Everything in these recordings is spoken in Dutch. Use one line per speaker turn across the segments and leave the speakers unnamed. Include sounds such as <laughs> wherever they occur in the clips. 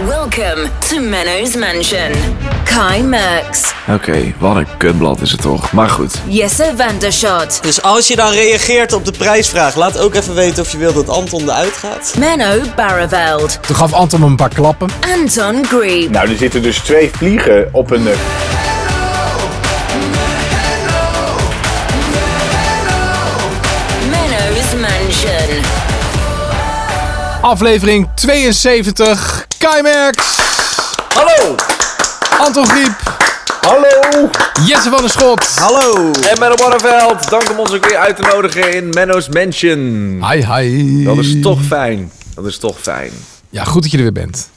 Welcome to Menno's Mansion. Kai Merks,
Oké, wat een kutblad is het toch. Maar goed.
Jesse Vandershot,
Dus als je dan reageert op de prijsvraag, laat ook even weten of je wilt dat Anton eruit gaat.
Menno Barreveld,
Toen gaf Anton een paar klappen.
Anton Grieb,
Nou, er zitten dus twee vliegen op een... eh,
Menno's Mansion.
Aflevering 72. Kai Merks,
Hallo!
Anton Griep,
Hallo!
Jesse van der Schot.
Hallo!
En Menno Barneveld, dank om ons ook weer uit te nodigen in Menno's Mansion.
Hi, hi.
Dat is toch fijn. Dat is toch fijn.
Ja, goed dat je er weer bent.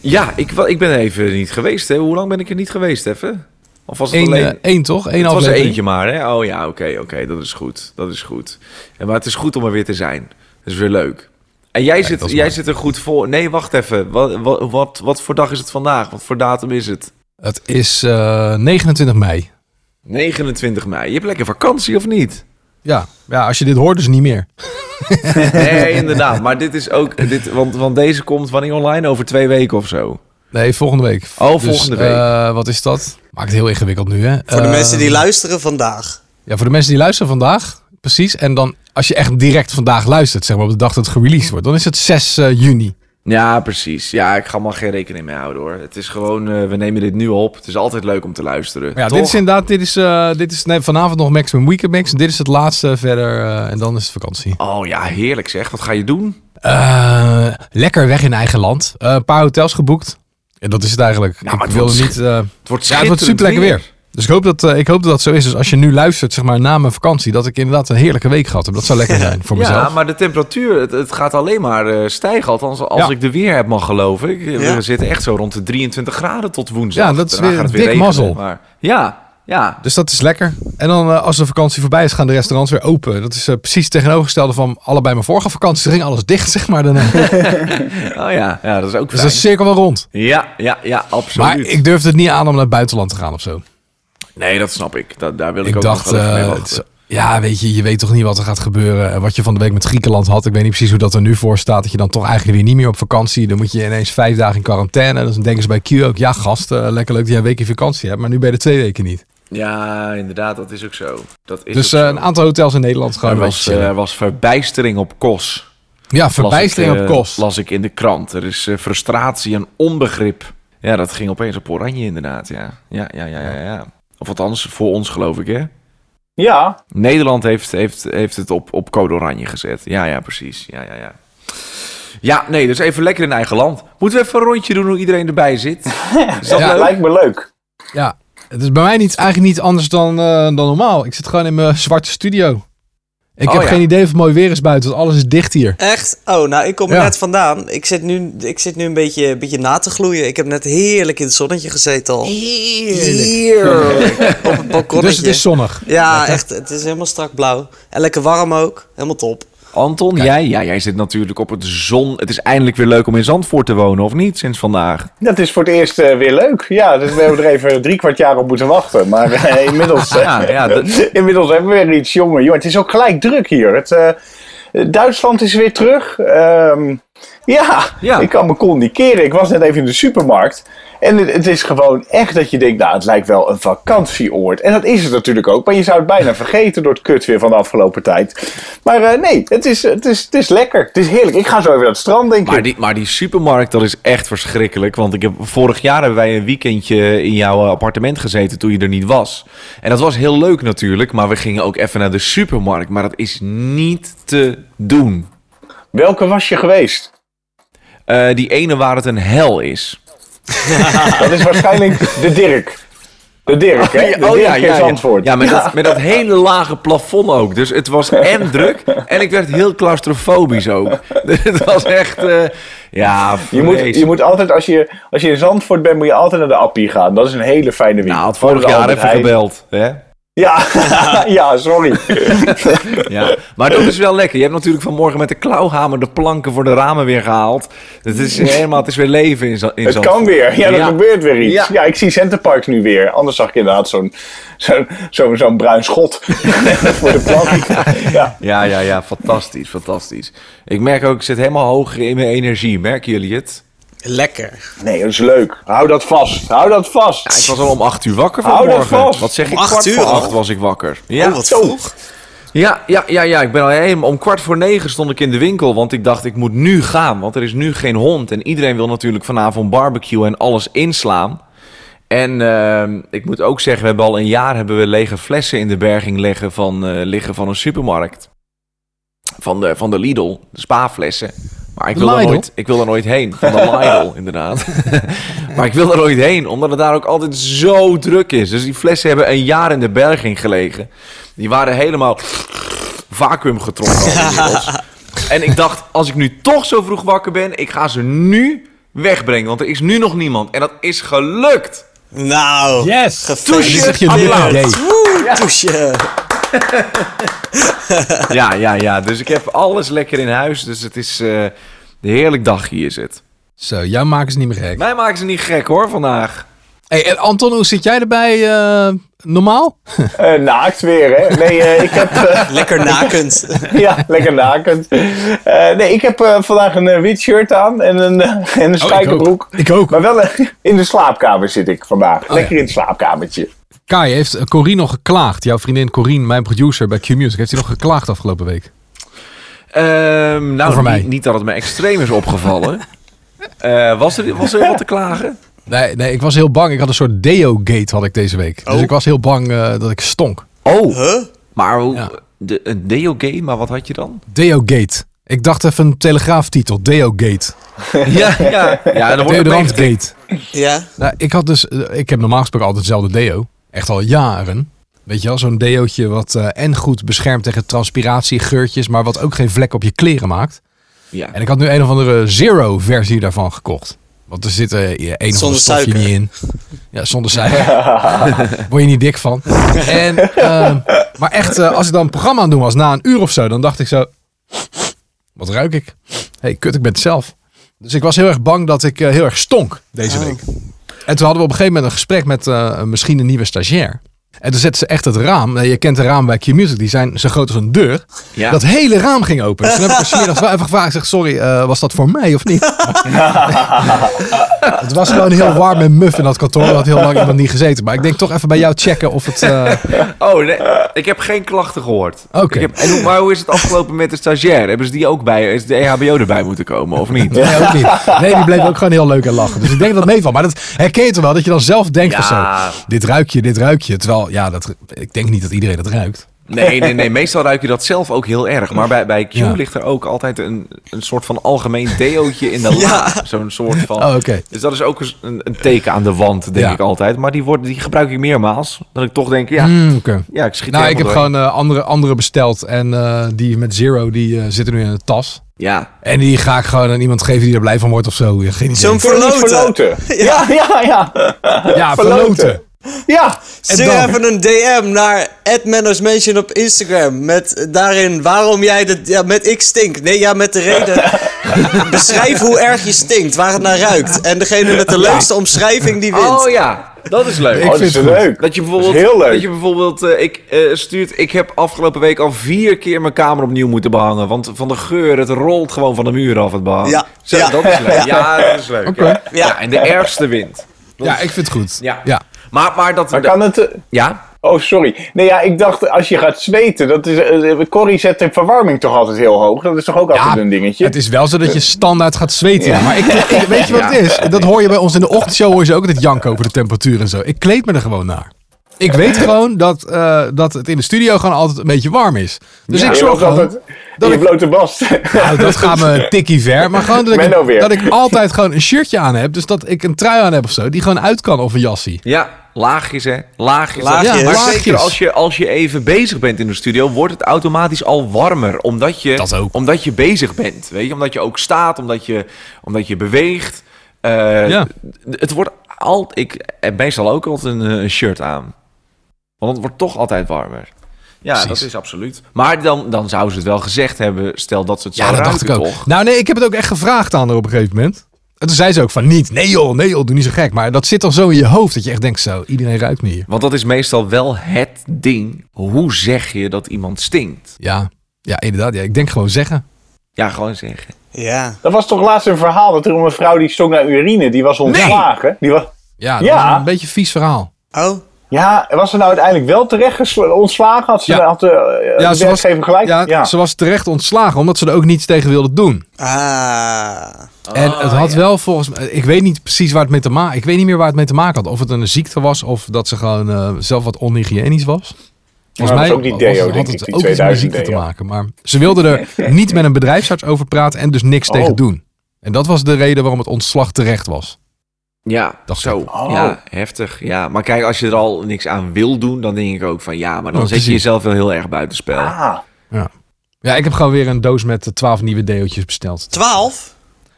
Ja, ik, wa- ik ben even niet geweest. Hè. Hoe lang ben ik er niet geweest, even? Of was het
Eén,
alleen...
eh, één toch? Eén
het was er
aflevering.
eentje maar, hè? Oh ja, oké, oké. dat is goed. Dat is goed. En, maar het is goed om er weer te zijn. Dat is weer leuk. En jij,
dat
zit,
is
jij
mooi.
zit er goed voor. Nee, wacht even. Wat, wat, wat, wat voor dag is het vandaag? Wat voor datum is het?
Het is eh, 29 mei.
29 mei. Je hebt lekker vakantie of niet?
Ja. ja, als je dit hoort, dus niet meer.
Nee, inderdaad. Maar dit is ook... Dit, want, want deze komt wanneer online? Over twee weken of zo.
Nee, volgende week.
Oh, volgende week.
eh, wat is dat? Maakt het heel ingewikkeld nu, hè? Ehm,
Voor de mensen die luisteren vandaag.
Ja, voor de mensen die luisteren vandaag. Precies. En dan, als je echt direct vandaag luistert, zeg maar op de dag dat het gereleased wordt, dan is het 6 eh, juni.
Ja, precies. Ja, ik ga maar geen rekening mee houden, hoor. Het is gewoon... eh, we nemen dit nu op. Het is altijd leuk om te luisteren.
Maar ja,
toch?
dit is inderdaad, dit is, eh, dit is nee, vanavond nog Maximum Weekend Mix. Dit is het laatste verder eh, en dan is het vakantie.
Oh ja, heerlijk zeg. Wat ga je doen?
Eh, lekker weg in eigen land. Eh, een paar hotels geboekt. En dat is het eigenlijk.
Nou, maar
ik
het
wilde
wordt
niet... eh,
Het wordt
ja, het wordt super lekker weer. Dus ik hoop, dat, eh, ik hoop dat dat zo is. Dus als je nu luistert, zeg maar, na mijn vakantie, dat ik inderdaad een heerlijke week gehad heb. Dat
<laughs>
zou lekker zijn voor mezelf.
Ja, maar de temperatuur, het, het gaat alleen maar eh, stijgen. Althans, als
Ja.
ik de weer heb mag geloven. Ik,
Ja.
We zitten echt zo rond de 23 graden tot woensdag.
Ja, dat is
Daarna
weer
gaat het
dik mazzel.
Maar, ja, ja.
Dus dat is lekker. En dan eh, als de vakantie voorbij is, gaan de restaurants weer open. Dat is eh, precies het tegenovergestelde van allebei mijn vorige vakantie. Er ging alles dicht, zeg maar. Daarna.
<laughs> Oh ja, ja, dat is ook
dus
fijn.
dat is cirkel wel rond.
Ja, ja, ja,
Maar
absoluut.
ik durfde het niet aan om naar het buitenland te gaan of zo.
Nee, dat snap ik. Da- daar wil ik,
Ik
ook
dacht,
nog wel even mee
eh,
wachten.
het is- ja, weet je, je weet toch niet wat er gaat gebeuren. En Wat je van de week met Griekenland had, ik weet niet precies hoe dat er nu voor staat. Dat je dan toch eigenlijk weer niet meer op vakantie. Dan moet je ineens vijf dagen in quarantaine. Dan denken ze bij Q ook, ja gast, eh, lekker leuk dat jij een weekje vakantie hebt. Maar nu ben je er twee weken niet.
Ja, inderdaad, dat is ook zo. Dat is
dus
ook
eh,
zo.
een aantal hotels in Nederland
er
gewoon een
was,
beetje
eh,
chillen.
was verbijstering op kos.
Ja,
Las
verbijstering
ik,
op
eh,
kost.
Las ik in de krant. Er is eh, frustratie en onbegrip. Ja, dat ging opeens op oranje inderdaad, ja. Ja, ja, ja, ja, ja. Of althans, voor ons geloof ik, hè?
Ja,
Nederland heeft, heeft, heeft het op, op code oranje gezet. Ja, ja, precies. Ja, ja, ja. Ja, nee, dus even lekker in eigen land. Moeten we even een rondje doen hoe iedereen erbij zit? Is dat
Ja.
leuk?
lijkt me leuk.
Ja, het is bij mij niet, eigenlijk niet anders dan, eh, dan normaal. Ik zit gewoon in mijn zwarte studio. Ik
Oh,
heb
ja.
geen idee of het mooi weer is buiten, want alles is dicht hier.
Echt? Oh, nou, ik kom er
Ja.
net vandaan. Ik zit nu, ik zit nu een, beetje, een beetje na te gloeien. Ik heb net heerlijk in het zonnetje gezeten al. Heerlijk.
<laughs>
Op het balkonnetje.
Dus het is zonnig.
ja, echt. Het is helemaal strak blauw. En lekker warm ook. Helemaal top.
Anton, jij, ja, jij zit natuurlijk op het zon. Het is eindelijk weer leuk om in Zandvoort te wonen, of niet? Sinds vandaag.
Dat is voor het eerst eh, weer leuk. Ja, dus we hebben er even drie kwart jaar op moeten wachten.
<laughs>
Maar eh, inmiddels,
Ja, ja, dat-
<laughs> inmiddels hebben we weer iets. Jongen, jongen, het is ook gelijk druk hier. Het, eh, Duitsland is weer terug. Ehm, ja,
Ja.
ik kan me kon niet keren. Ik was net even in de supermarkt. En het, het is gewoon echt dat je denkt, nou, het lijkt wel een vakantieoord. En dat is het natuurlijk ook. Maar je zou het bijna vergeten door het kut weer van de afgelopen tijd. Maar eh, nee, het is, het, is, het is lekker. Het is heerlijk. Ik ga zo even naar het strand, denk ik.
Maar die, maar die supermarkt, dat is echt verschrikkelijk. Want ik heb, vorig jaar hebben wij een weekendje in jouw eh, appartement gezeten toen je er niet was. En dat was heel leuk natuurlijk, maar we gingen ook even naar de supermarkt. Maar dat is niet te doen.
Welke was je geweest?
Eh, die ene waar het een hel is.
Dat is waarschijnlijk de Dirk. De Dirk, hè? De Dirk is antwoord.
Oh, Ja, met, Dat, met dat hele lage plafond ook. Dus het
<laughs>
was en druk en ik werd heel claustrofobisch ook. <laughs> Dus het was echt, eh, ja,
je, moet,
vreselijk.
je moet altijd, als je, als je in Zandvoort bent, moet je altijd naar de Appie gaan. Dat is een hele fijne winkel.
Nou, had vorig jaar
Albert
even
Heijn.
gebeld, hè?
Ja, ja, <laughs>
<laughs>
sorry.
Ja, maar dat is wel lekker. Je hebt natuurlijk vanmorgen met de klauwhamer de planken voor de ramen weer gehaald. Het
<laughs>
is helemaal, het is weer leven in, Za- in
Het kan
Zandvoort.
weer. Ja, er
Ja.
gebeurt weer iets.
Ja.
Ja, ik zie Centerparks nu weer. Anders zag ik inderdaad zo'n zo'n zo'n zo'n bruin schot <laughs> voor de plank. Ja.
Ja, ja, ja, fantastisch, fantastisch. Ik merk ook, ik zit helemaal hoog in mijn energie. Merken jullie het?
Lekker.
Nee, dat is leuk. Hou dat vast. Hou dat vast.
Ik was al om 8 uur wakker
Hou dat
vanmorgen.
vast.
Wat zeg ik?
Om acht
Kwart
uur
voor
al?
8 was ik wakker. Ja.
Oh, wat vroeg.
Ja, ja, ja, ja, ik ben al helemaal om kwart voor negen stond ik in de winkel. Want ik dacht, ik moet nu gaan. Want er is nu geen hond. En iedereen wil natuurlijk vanavond barbecue en alles inslaan. En ehm, ik moet ook zeggen, we hebben al een jaar hebben we lege flessen in de berging liggen van, eh, liggen van een supermarkt. Van de, van de Lidl, de spa-flessen. Maar ik wil, daar
Lidl?
nooit, ik wil daar nooit heen. Van de Lidl, inderdaad. <laughs> maar ik wil daar nooit heen, omdat het daar ook altijd zo druk is. Dus die flessen hebben een jaar in de berging gelegen. Die waren helemaal vacuüm getrokken. inmiddels. En ik dacht, als ik nu toch zo vroeg wakker ben, ik ga ze nu wegbrengen. Want er is nu nog niemand. En dat is gelukt.
Nou.
Yes!
Gefeliciteerd.
Zeg je dit
Applaus.
idee.
Woe, douche.
Ja, ja, ja. Dus ik heb alles lekker in huis. Dus het is eh, een heerlijk dagje is het.
Zo, jou maken ze niet meer gek.
Mij maken ze niet gek hoor vandaag.
Hey, en Anton, hoe zit jij erbij eh, normaal?
Eh, naakt weer, hè? Nee, eh, ik heb... eh,
Lekker <laughs> nakend.
<laughs> ja, lekker nakend. Eh, nee, ik heb eh, vandaag een eh, wit shirt aan en een, eh, en een spijkerbroek.
Oh, Ik ook. Oh,
Maar wel eh, in de slaapkamer zit ik vandaag. lekker
ja.
in het slaapkamertje.
Kai, heeft eh, Corine nog geklaagd? Jouw vriendin Corine, mijn producer bij Q-Music, heeft hij nog geklaagd afgelopen week?
Ehm, nou,
Over mij.
Niet, niet dat het me extreem is opgevallen. Eh, was, er, was er wat te klagen?
Nee, nee, ik was heel bang. Ik had een soort deo-gate had ik deze week. Dus ik was heel bang eh, dat ik stonk.
Oh,
Huh?
maar hoe-
Ja.
de, een deo-gay, maar wat had je dan?
Deo-gate. Ik dacht even een telegraaftitel. Deo-gate.
Ja, ja. ja en dan wordt het meegedaan.
Deodorant-gate.
Ja.
Nou, ik had dus, eh, ik heb normaal gesproken altijd dezelfde deo. Echt al jaren. Weet je wel, zo'n deootje wat eh, en goed beschermt tegen transpiratie, geurtjes, maar wat ook geen vlek op je kleren maakt.
Ja.
En ik had nu een of andere zero versie daarvan gekocht. Want er zit eh, een of ander
Zonder
stofje
suiker.
niet in.
<laughs>
Ja, zonder suiker. Word je niet dik van. En, eh, maar echt, eh, als ik dan een programma aan het doen was, na een uur of zo, dan dacht ik zo... Wat ruik ik? hey, kut, ik ben het zelf. Dus ik was heel erg bang dat ik eh, heel erg stonk deze week. En toen hadden we op een gegeven moment een gesprek met eh, misschien een nieuwe stagiair. En toen zetten ze echt het raam. nou, je kent de raam bij Q-Music, die zijn zo groot als een deur.
Ja.
Dat hele raam ging open. Dus toen heb ik er 's middags wel even gevraagd. Ik Zeg, sorry, eh, was dat voor mij of niet? het was gewoon heel warm en muf in dat kantoor. Dat had heel lang iemand niet gezeten. Maar ik denk toch even bij jou checken of het... eh,
Oh, nee. Ik heb geen klachten gehoord.
Oké.
Ik heb- en hoe, maar hoe is het afgelopen met de stagiair? Hebben ze die ook bij? Is de E EHBO erbij moeten komen of niet?
Nee, ook niet. Nee, die bleef ook gewoon heel leuk en lachen. Dus ik denk dat het meevalt. Maar dat herken je toch wel, dat je dan zelf denkt
Ja.
van zo, dit ruik je, dit ruik je. Terwijl, ja, dat, ik denk niet dat iedereen dat ruikt.
Nee, nee, nee. Meestal ruik je dat zelf ook heel erg. Maar bij, bij Q
Ja.
ligt er ook altijd een, een soort van algemeen deootje in de
Ja.
la. Zo'n soort van.
Oh, oké.
Dus dat is ook eens een, een teken aan de wand, denk
Ja.
ik altijd. Maar die, wordt, die gebruik ik meermaals. Dat ik toch denk, ja,
Mm, oké.
ja ik schiet
Nou,
er
ik heb
helemaal
gewoon eh, andere, andere besteld. En eh, die met Zero, die eh, zitten nu in een tas.
doorheen. Ja.
En die ga ik gewoon aan iemand geven die er blij van wordt of zo. Ja, Geen idee.
Zo'n
Verloten.
verloten.
<laughs>
Ja, ja, ja.
ja,
verloten.
verloten.
Ja.
Stuur
dan?
even een DM naar @mannersmansion op Instagram met eh, daarin waarom jij de ja met ik stink. Nee, ja met de reden. Beschrijf hoe erg je stinkt, waar het naar ruikt en degene met de leukste omschrijving die wint.
Oh ja, dat is leuk.
Ik
Oh, dat
vind
is
het goed.
leuk.
Dat je bijvoorbeeld,
Dat is heel leuk.
Dat je bijvoorbeeld eh, ik, eh, stuurt, ik heb afgelopen week al vier keer mijn kamer opnieuw moeten behangen. Want van de geur, het rolt gewoon van de muur af het behang.
Ja.
Zo,
Ja.
dat is leuk. Ja, dat is leuk.
Oké.
Ja.
Ja.
Ja, en de ergste wint. Dat
Ja,
is-
ik vind het goed.
Ja.
ja.
Maar, maar dat...
Maar kan het... eh,
Ja?
Oh, sorry. Nee, ja, ik dacht als je gaat zweten, dat is... eh, Corrie zet de verwarming toch altijd heel hoog? Dat is toch ook altijd een dingetje? Eh,
Het is wel zo dat je standaard gaat zweten. ja. Maar ik, ik- weet je wat het is? Dat hoor je bij ons in de ochtendshow hoor je ze ook altijd janken over de temperatuur en zo. Ik kleed me er gewoon naar. Ik weet gewoon dat, eh, dat het in de studio gewoon altijd een beetje warm is. Dus
Ja,
ik
je
zorg
loopt
gewoon...
altijd-
dat
je
ik-
blote bast.
Nou, dat gaat me een tikkie ver. Maar gewoon dat
Menno
ik,
weer.
dat ik altijd gewoon een shirtje aan heb. Dus dat ik een trui aan heb of zo. Die gewoon uit kan of een jassie.
Ja, laagjes hè. Laagjes.
Laagjes.
Ja, maar
Laagjes.
zeker als je, als je even bezig bent in de studio, wordt het automatisch al warmer. Omdat je,
Dat ook.
Omdat je bezig bent. Weet je? Omdat je ook staat, omdat je, omdat je beweegt. Eh,
Ja.
Het wordt altijd... Ik heb meestal ook altijd een, eh, een shirt aan. Want het wordt toch altijd warmer. Ja,
Precies.
dat is absoluut. Maar dan, dan zouden ze het wel gezegd hebben. Stel dat ze het
Ja,
zouden
dat dacht ik
ruiken,
ook.
toch?
Nou nee, ik heb het ook echt gevraagd aan haar op een gegeven moment. En toen zei ze ook van niet. Nee joh, nee joh, doe niet zo gek. Maar dat zit dan zo in je hoofd dat je echt denkt zo, iedereen ruikt me hier.
Want dat is meestal wel het ding. Hoe zeg je dat iemand stinkt?
Ja, ja inderdaad. Ja, ik denk gewoon zeggen.
Ja, gewoon zeggen.
Ja.
<laughs> Dat was toch laatst een verhaal dat er om een vrouw die stonk naar urine, die was ontslagen. Die was,
Ja, dat
Ja.
is een beetje een vies verhaal.
Oh,
ja, was ze nou uiteindelijk wel terecht gesla- ontslagen? Had ze
Ja.
had, eh, eh,
Ja,
de werkgever gelijk?
ja, ze was terecht ontslagen omdat ze er ook niets tegen wilde doen.
ah.
en het had wel volgens mij, ik weet niet precies waar het mee te maken, ik weet niet meer waar het mee te maken had. Of het een ziekte was of dat ze gewoon eh, zelf wat onhygiënisch was.
Maar
Volgens
dat
mij
was ook die
had
deo,
het-
denk
had
ik,
het
die
ook iets met
2000
ziekte te
deo.
maken. Maar ze wilde
<laughs>
er niet met een bedrijfsarts over praten en dus niks
Oh.
tegen doen. En dat was de reden waarom het ontslag terecht was.
Ja,
Dacht
zo.
ik.
Oh.
Ja, heftig. Ja, maar kijk, als je er al niks aan wil doen, dan denk ik ook van ja, maar dan
Oh,
zet je
precies.
jezelf wel heel erg buitenspel.
Ah,
Ja, ik heb gewoon weer een doos met twaalf nieuwe deeltjes besteld.
Twaalf?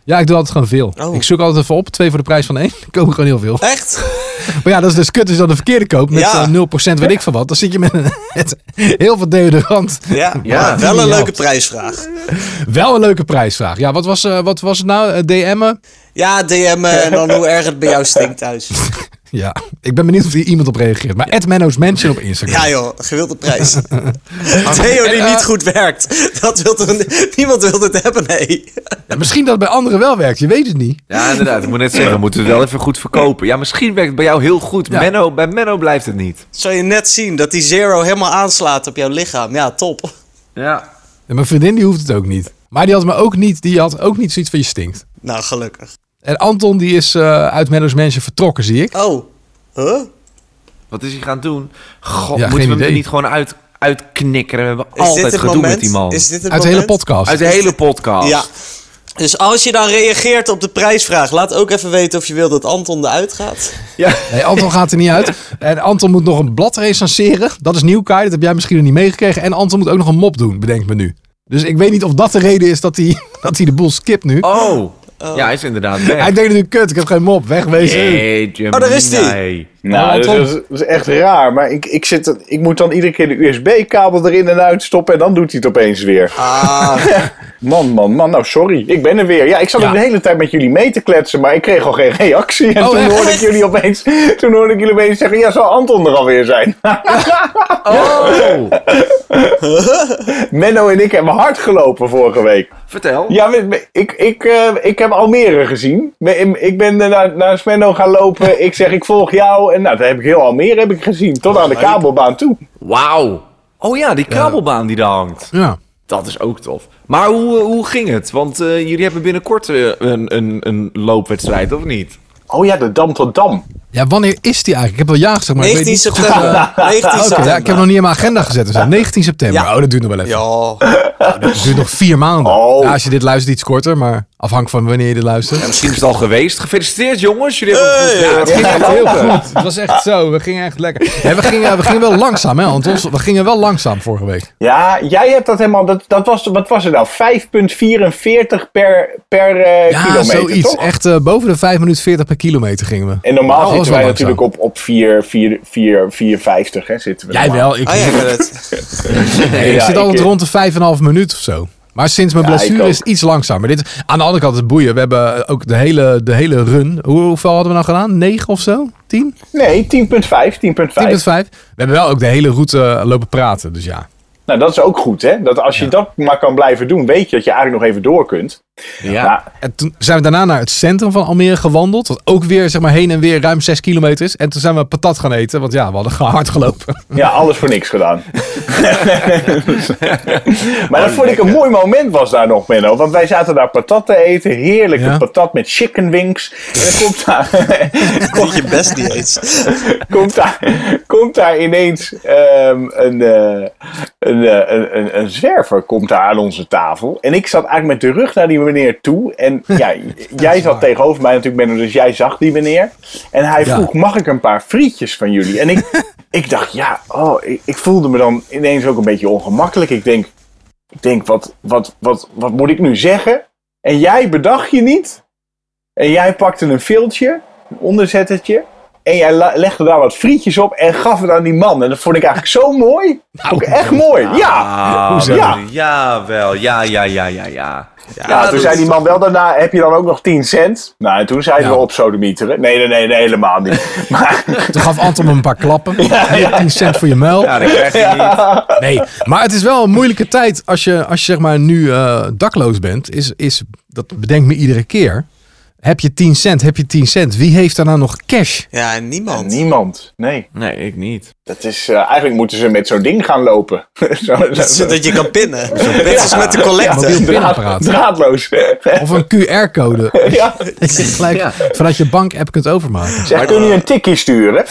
Ja, ik doe altijd gewoon veel.
Oh.
Ik zoek altijd even op, twee voor de prijs van één. <laughs> Er komen gewoon heel veel.
Echt?
Maar ja, dat is dus kut als je dan de verkeerde koopt met
Ja.
eh, 0% weet ik van wat. Dan zit je met, <laughs> een, met heel veel deodorant.
Ja.
Ja.
Maar wel een
Ja.
leuke prijsvraag.
Wel een leuke prijsvraag. Ja, wat was, eh, wat was het nou? Eh, DM'en?
Ja, DM'en en dan hoe erg het bij jou stinkt thuis.
Ja, ik ben benieuwd of hier iemand op reageert. Maar at Menno's Mansion op Instagram.
Ja joh, gewilde prijs. Theo die
En, eh,
niet goed werkt. Dat wil toch, niemand wil dit hebben, nee.
Ja, misschien dat het bij anderen wel werkt, je weet het niet.
Ja, inderdaad. Ik moet net zeggen, we moeten het wel even goed verkopen. Ja, misschien werkt het bij jou heel goed.
Ja.
Menno, bij Menno blijft het niet.
Zal je net zien dat die zero helemaal aanslaat op jouw lichaam. Ja, top.
Ja.
En mijn vriendin die hoeft het ook niet. Maar die had, me ook, niet, die had ook niet zoiets van je stinkt.
Nou, gelukkig.
En Anton die is eh, uit Menno's Mansion vertrokken, zie ik.
Oh, huh?
Wat is hij gaan doen? God, moeten
Ja,
we
geen
hem er
idee.
niet gewoon uit, uitknikkeren? We hebben
Is dit
altijd
het
gedoe
moment?
met die man.
Is dit het
Uit de hele
moment?
podcast.
Uit de hele podcast.
Ja. Dus als je dan reageert op de prijsvraag, laat ook even weten of je wil dat Anton eruit gaat.
Nee, Anton gaat er niet uit. En Anton moet nog een blad recenseren. Dat is nieuw, Kai. Dat heb jij misschien nog niet meegekregen. En Anton moet ook nog een mop doen, bedenk me nu. Dus ik weet niet of dat de reden is dat hij, <laughs> dat hij de boel skipt nu.
Oh. Ja, hij is inderdaad weg.
Hij denkt nu, kut, ik heb geen mop. Wegwezen.
Jeetje,
Oh, daar is die.
nee.
Nou,
nou, dat,
Anton.
is, dat is echt raar. Maar ik, ik, zit, ik moet dan iedere keer de USB-kabel erin en uit stoppen en dan doet hij het opeens weer.
Ah,
<laughs> Man, man, man, nou sorry. Ik ben er weer. Ja, ik zat
Ja.
ook de hele tijd met jullie mee te kletsen, maar ik kreeg al geen reactie. En
Oh,
toen,
echt?
hoorde ik jullie opeens, toen hoorde ik jullie opeens zeggen, ja, zou Anton er alweer zijn? <laughs>
Oh.
Menno en ik hebben hard gelopen vorige week.
Vertel.
Ja, we- we- ik, ik, eh, ik heb Almere gezien. We- Ik ben eh, naar, naar Smenno gaan lopen. Ik zeg, ik volg jou. En nou, dat heb ik heel Almere heb ik gezien. Tot aan de kabelbaan toe.
Wauw. Oh ja, die kabelbaan die daar hangt.
Ja.
Dat is ook tof. Maar hoe, eh, hoe ging het? Want eh, jullie hebben binnenkort eh, een, een, een loopwedstrijd, of niet?
Oh ja, de Dam tot Dam.
ja, wanneer is die eigenlijk? Ik heb wel ja gezegd, maar ik weet
19
niet goed, <laughs>
september. <laughs> 19
eh, oké, ja,
september.
ik heb nog niet in mijn agenda gezet. Dus, 19 september.
Ja.
Oh, dat duurt nog wel even. Nou,
Ja,
Dat duurt nog vier maanden.
Oh.
Ja, als je dit luistert, iets korter. Maar afhankelijk van wanneer je dit luistert.
Misschien is het al geweest. Gefeliciteerd, jongens. Jullie hebben een goed- ja, het ging echt
Heel
heel goed.
goed. Het was echt zo. We gingen echt lekker. Ja, we, gingen, we gingen wel langzaam, hè, Anton? We gingen wel langzaam vorige week.
Ja, jij hebt dat helemaal... Dat, dat was, wat was het nou? 5,44 per, per eh,
Ja,
kilometer,
zoiets.
toch?
Echt eh, boven de 5 minuten 40 per kilometer gingen we.
En normaal
Nou,
zitten
was
wij
wel
natuurlijk op, op 4, 4, 4, 4,50 hè, zitten we
Jij
normaal.
wel. Ik,
Ah,
<laughs>
ja, ik ben <laughs> het.
nee, ik
Ja,
zit
ik,
altijd
eh,
rond de 5,5 minuut of zo. Maar sinds mijn
Ja, ik
blessure
ook.
is het iets langzamer. Dit, aan de andere kant is het boeien. We hebben eh, ook de hele, de hele run. Hoe, hoeveel hadden we nou gedaan? 9 of zo? 10? 10,5.
Nee, 10,5, 10,5.
We hebben wel ook de hele route eh, lopen praten. Dus ja.
Nou, dat is ook goed, hè? Dat als je dat maar kan blijven doen, weet je dat je eigenlijk nog even door kunt.
Ja.
Ja.
En toen zijn we daarna naar het centrum van Almere gewandeld. Wat ook weer zeg maar, heen en weer ruim 6 kilometer is. En toen zijn we patat gaan eten. Want ja, we hadden <laughs> gewoon hard gelopen.
Ja, alles voor niks gedaan. maar dat vond ik een mooi moment was daar nog, Menno. Want wij zaten daar patat te eten. Heerlijke
Ja.
patat met chicken wings. En dan komt daar,
Niet je best niet eens.
<laughs> komt daar, komt daar ineens ehm, een, eh, een, eh, een, een, een zwerver komt daar aan onze tafel. En ik zat eigenlijk met de rug naar die meneer toe. En ja, jij zat tegenover mij natuurlijk, Menno. Dus jij zag die meneer. En hij
Ja.
vroeg, mag ik een paar frietjes van jullie? En ik, ik dacht, ja, oh, ik, ik voelde me dan ineens ook een beetje ongemakkelijk. Ik denk, ik denk wat, wat, wat, wat moet ik nu zeggen? En jij bedacht je niet. En jij pakte een filtje, een onderzettertje. En jij la- legde daar wat frietjes op en gaf het aan die man. En dat vond ik eigenlijk zo mooi. Vond ik echt mooi. Ja.
Ah,
Ja.
Jawel, ja, ja, ja, ja, ja. dus-
Ja, toen
dat
zei
is
die man wel daarna, heb je dan ook nog 10 cent? Nou, en toen zei hij
Ja.
wel op sodemieteren. Nee, nee, nee, nee, helemaal niet. Maar
Toen gaf Anton hem een paar klappen. 10 cent voor je muil.
Ja, dat krijg je niet.
Nee, maar het is wel een moeilijke tijd als je, als je zeg maar nu eh, dakloos bent. Is, is, dat bedenkt me iedere keer. Heb je 10 cent, heb je 10 cent. Wie heeft daarna nog cash?
Ja, niemand.
niemand. Nee.
Nee, ik niet.
Dat is, eh, eigenlijk moeten ze met zo'n ding gaan lopen. <laughs> zo, zo-
<laughs> Zodat je kan pinnen. Net als met de
mobiel
collecte.
pinapparaat.
<laughs> draadloos.
Of een QR-code.
<laughs>
<laughs>
ja.
Dat je gelijk vanuit je bank-app kunt overmaken.
Zeg, kun je een tikkie sturen?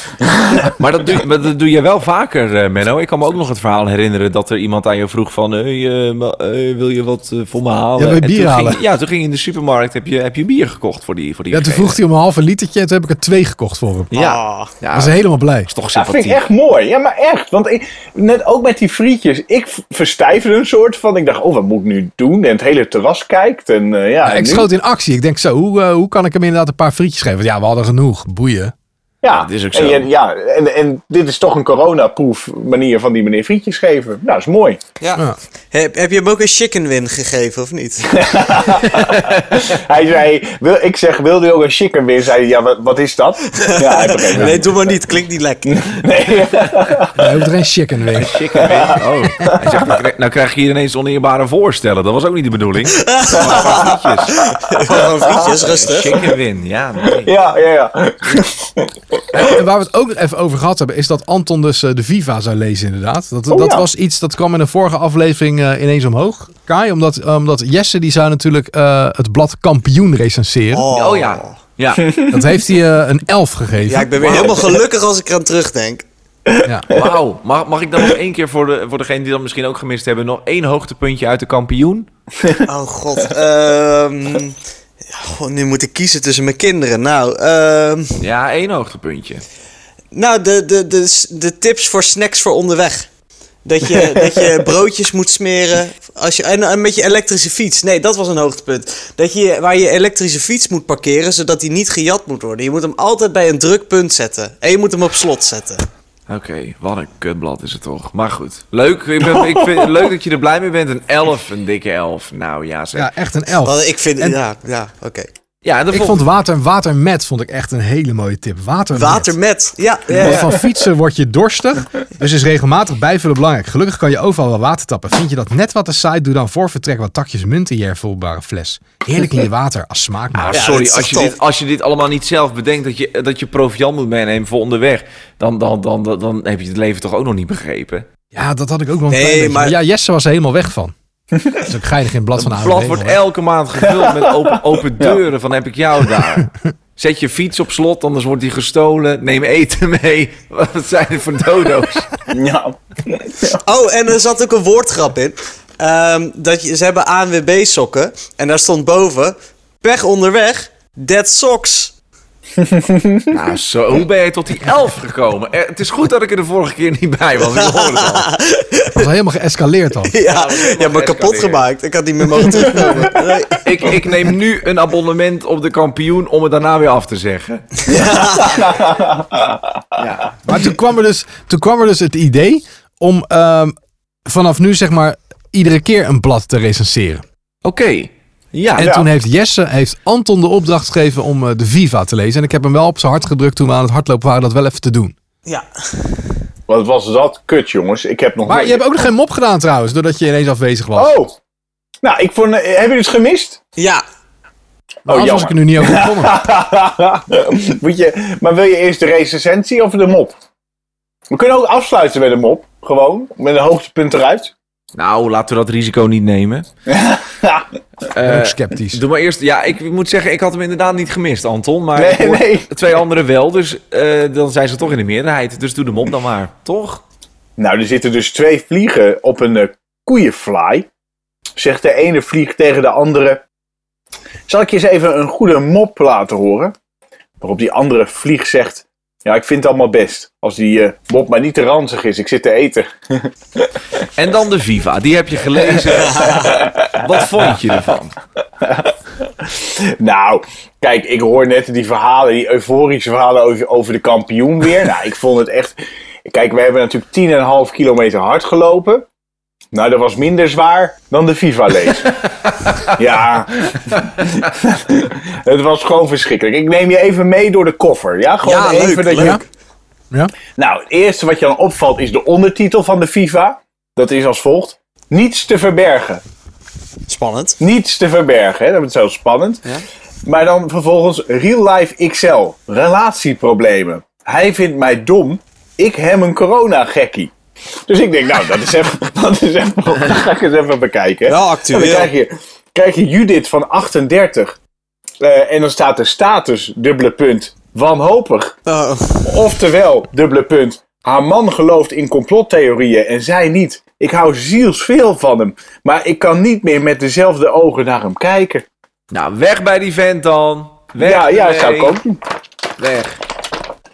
Maar dat doe, maar dat doe je wel vaker, eh, Menno. Ik kan me ook nog het verhaal herinneren dat er iemand aan je vroeg van... Hey, eh, ma- eh, wil je wat eh, voor me halen?
Ja, wil je
En
bier
toen
halen?
Ging, ja, toen ging je in de supermarkt, heb je, heb je bier gekocht voor die voor die
Ja, toen vroeg hij om een half een litertje en toen heb ik er twee gekocht voor hem.
Ja,
Ah.
ja
Was hij helemaal blij.
is toch
Dat vind
sympathiek.
ik echt mooi. Ja, maar echt. Want ik, net ook met die frietjes. Ik v- verstijfde een soort van. Ik dacht, oh, wat moet ik nu doen? En het hele terras kijkt. En eh, ja, en
ik
nu-
schoot in actie. Ik denk zo, hoe, eh, hoe kan ik hem inderdaad een paar frietjes geven? Want ja, we hadden genoeg. Boeien.
ja.
dat is ook
En,
zo.
je- ja, en, en dit is toch een coronaproof manier van die meneer frietjes geven. Nou, dat is mooi.
Ja.
Ja.
Heb, heb je hem ook een chicken win gegeven, of niet?
Hij zei, wil, ik zeg, wilde je ook een chicken weer? Zei hij, ja, wat, wat is dat? Ja, hij begreep het.
Nee, doe maar niet. Klinkt niet lekker.
<laughs> Nee.
Hij hoeft er geen chicken weer.
Chicken wing. Oh. Hij zegt, nou, krijg- nou krijg je hier ineens oneerbare voorstellen. Dat was ook niet de bedoeling. Maar frietjes.
<laughs> Gewoon frietjes, rustig.
Chicken win, ja. nee.
Ja, ja, ja.
En waar we het ook nog even over gehad hebben, is dat Anton dus eh, de Viva zou lezen inderdaad. Dat,
Oh,
dat
ja.
was iets, dat kwam in een vorige aflevering eh, ineens omhoog. Kai, omdat, eh, omdat Jesse die zou natuurlijk eh, het blad kampioen recenseren.
Oh ja. Ja,
Dat heeft hij eh, een elf gegeven.
Ja, ik ben weer helemaal gelukkig als ik eraan terugdenk.
Ja.
wauw. Mag, mag ik dan nog één keer voor, de, voor degenen die dat misschien ook gemist hebben... nog één hoogtepuntje uit de kampioen?
Oh
<laughs>
god. Ehm, ja, goh, nu moet ik kiezen tussen mijn kinderen. Nou, ehm,
Ja, één hoogtepuntje.
nou de, de, de, de tips voor snacks voor onderweg. Dat
<laughs>
je, dat je broodjes moet smeren. Als je, en, en met je elektrische fiets. Nee, dat was een hoogtepunt. Dat je waar je elektrische fiets moet parkeren, zodat die niet gejat moet worden. Je moet hem altijd bij een druk punt zetten. En je moet hem op slot zetten.
Oké, wat een kutblad is het toch. Maar goed, leuk. Ik, ben, ik vind het leuk dat je er blij mee bent. Een elf, een dikke elf. Nou ja, zeg. Ja,
Ja, echt een elf.
Want ik vind,
En-
ja, ja oké.
en de
ik vond
volgende-
water, watermet vond ik echt een hele mooie tip. Watermet.
Water met. Ja, ja,
Want
ja.
van fietsen word je dorstig, dus is regelmatig bijvullen belangrijk. Gelukkig kan je overal wel water tappen. Vind je dat net wat te saai? Doe dan voor vertrek wat takjes munt in je hervulbare fles. Heerlijk in je water als
Ah,
smaakmaker.
Ja, dat
sorry,
is
als je,
toch
dit,
top.
als je dit allemaal niet zelf bedenkt, dat je, dat je proviant moet meenemen voor onderweg, dan, dan, dan, dan, dan heb je het leven toch ook nog niet begrepen.
Ja, dat had ik ook wel een
Nee,
klein beetje.
maar-
Ja, Jesse was er helemaal weg van. Dat is ook geinig in het blad van de
Het
ANWB
blad wordt
gewoon.
elke maand gevuld
<laughs>
met open, open deuren van heb ik jou daar. Zet je fiets op slot, anders wordt die gestolen. Neem eten mee. <laughs> Wat zijn het voor
<laughs>
dodo's?
ja.
Oh, en er zat ook een woordgrap in. Ehm, dat je, ze hebben ANWB-sokken. En daar stond boven... Pech onderweg, dead socks.
Nou, zo, hoe ben je tot die elf gekomen? Eh, Het is goed dat ik er de vorige keer niet bij was. Ik hoorde het
<laughs>
al.
Dat was helemaal geëscaleerd dan.
Ja,
dat is helemaal
ja maar kapot
geëscaleerd.
gemaakt. Ik had niet meer mogen terugkomen. <laughs> Nee.
Ik, ik neem nu een abonnement op de kampioen om het daarna weer af te zeggen. Ja.
Maar toen kwam er dus, toen kwam er dus het idee om ehm, vanaf nu zeg maar iedere keer een blad te recenseren.
Oké. Ja.
En
Ja.
toen heeft Jesse heeft Anton de opdracht gegeven om eh, de Viva te lezen. En ik heb hem wel op zijn hart gedrukt toen we aan het hardlopen waren dat wel even te doen.
Ja.
Wat was dat kut, jongens. Ik heb nog
Maar
nooit-
je hebt ook nog geen mop gedaan trouwens, doordat je ineens afwezig was.
Oh. Nou, ik vond... eh, Heb je het gemist? Oh,
ja,
maar anders was
jammer.
ik er nu niet over gekomen.
<laughs> Moet je, maar wil je eerst de recensie of de mop? We kunnen ook afsluiten met een mop. Gewoon. Met een hoogtepunt eruit.
Nou, laten we dat risico niet
<laughs>
nemen. Eh,
Ook sceptisch.
doe maar eerst. Ja, ik moet zeggen, ik had hem inderdaad niet gemist, Anton. Maar
Nee,
ik hoor
nee.
twee anderen wel. Dus eh, dan zijn ze toch in de meerderheid. Dus doe de mop dan maar. Toch?
Nou, er zitten dus twee vliegen op een eh, koeienfly. Zegt de ene vlieg tegen de andere. Zal ik je eens even een goede mop laten horen? Waarop die andere vlieg zegt. Ja, ik vind het allemaal best. Als die eh, mop maar niet te ranzig is. Ik zit te eten. <laughs>
En dan de Viva. Die heb je gelezen. Wat vond je ervan?
Nou, kijk, ik hoor net die verhalen, die euforische verhalen over, over de kampioen weer. Nou, ik vond het echt... Kijk, we hebben natuurlijk 10,5 kilometer hard gelopen. Nou, dat was minder zwaar dan de FIFA
<laughs>
lees. ja, het was gewoon verschrikkelijk. Ik neem je even mee door de koffer. Ja, gewoon
Ja,
even
leuk,
dat je
leuk.
Ja?
nou, het eerste wat je dan opvalt is de ondertitel van de FIFA. Dat is als volgt. Niets te verbergen.
Spannend.
Niets te verbergen. Hè? Dat is zo spannend. Maar dan vervolgens Real Life XL. Relatieproblemen. Hij vindt mij dom. Ik hem een corona-gekkie. Dus ik denk, nou, dat is even... <laughs> dat, is even dat ga ik eens even bekijken. hè.
Wel actueel.
En dan krijg je, krijg je Judith van 38. Eh, en dan staat er status, dubbele punt, wanhopig.
Oh,
Oftewel, dubbele punt. Haar man gelooft in complottheorieën en zij niet. Ik hou zielsveel van hem, maar ik kan niet meer met dezelfde ogen naar hem kijken.
Nou, weg bij die vent dan. Weg
ja, ja,
ermee.
zou ik ook doen.
Weg.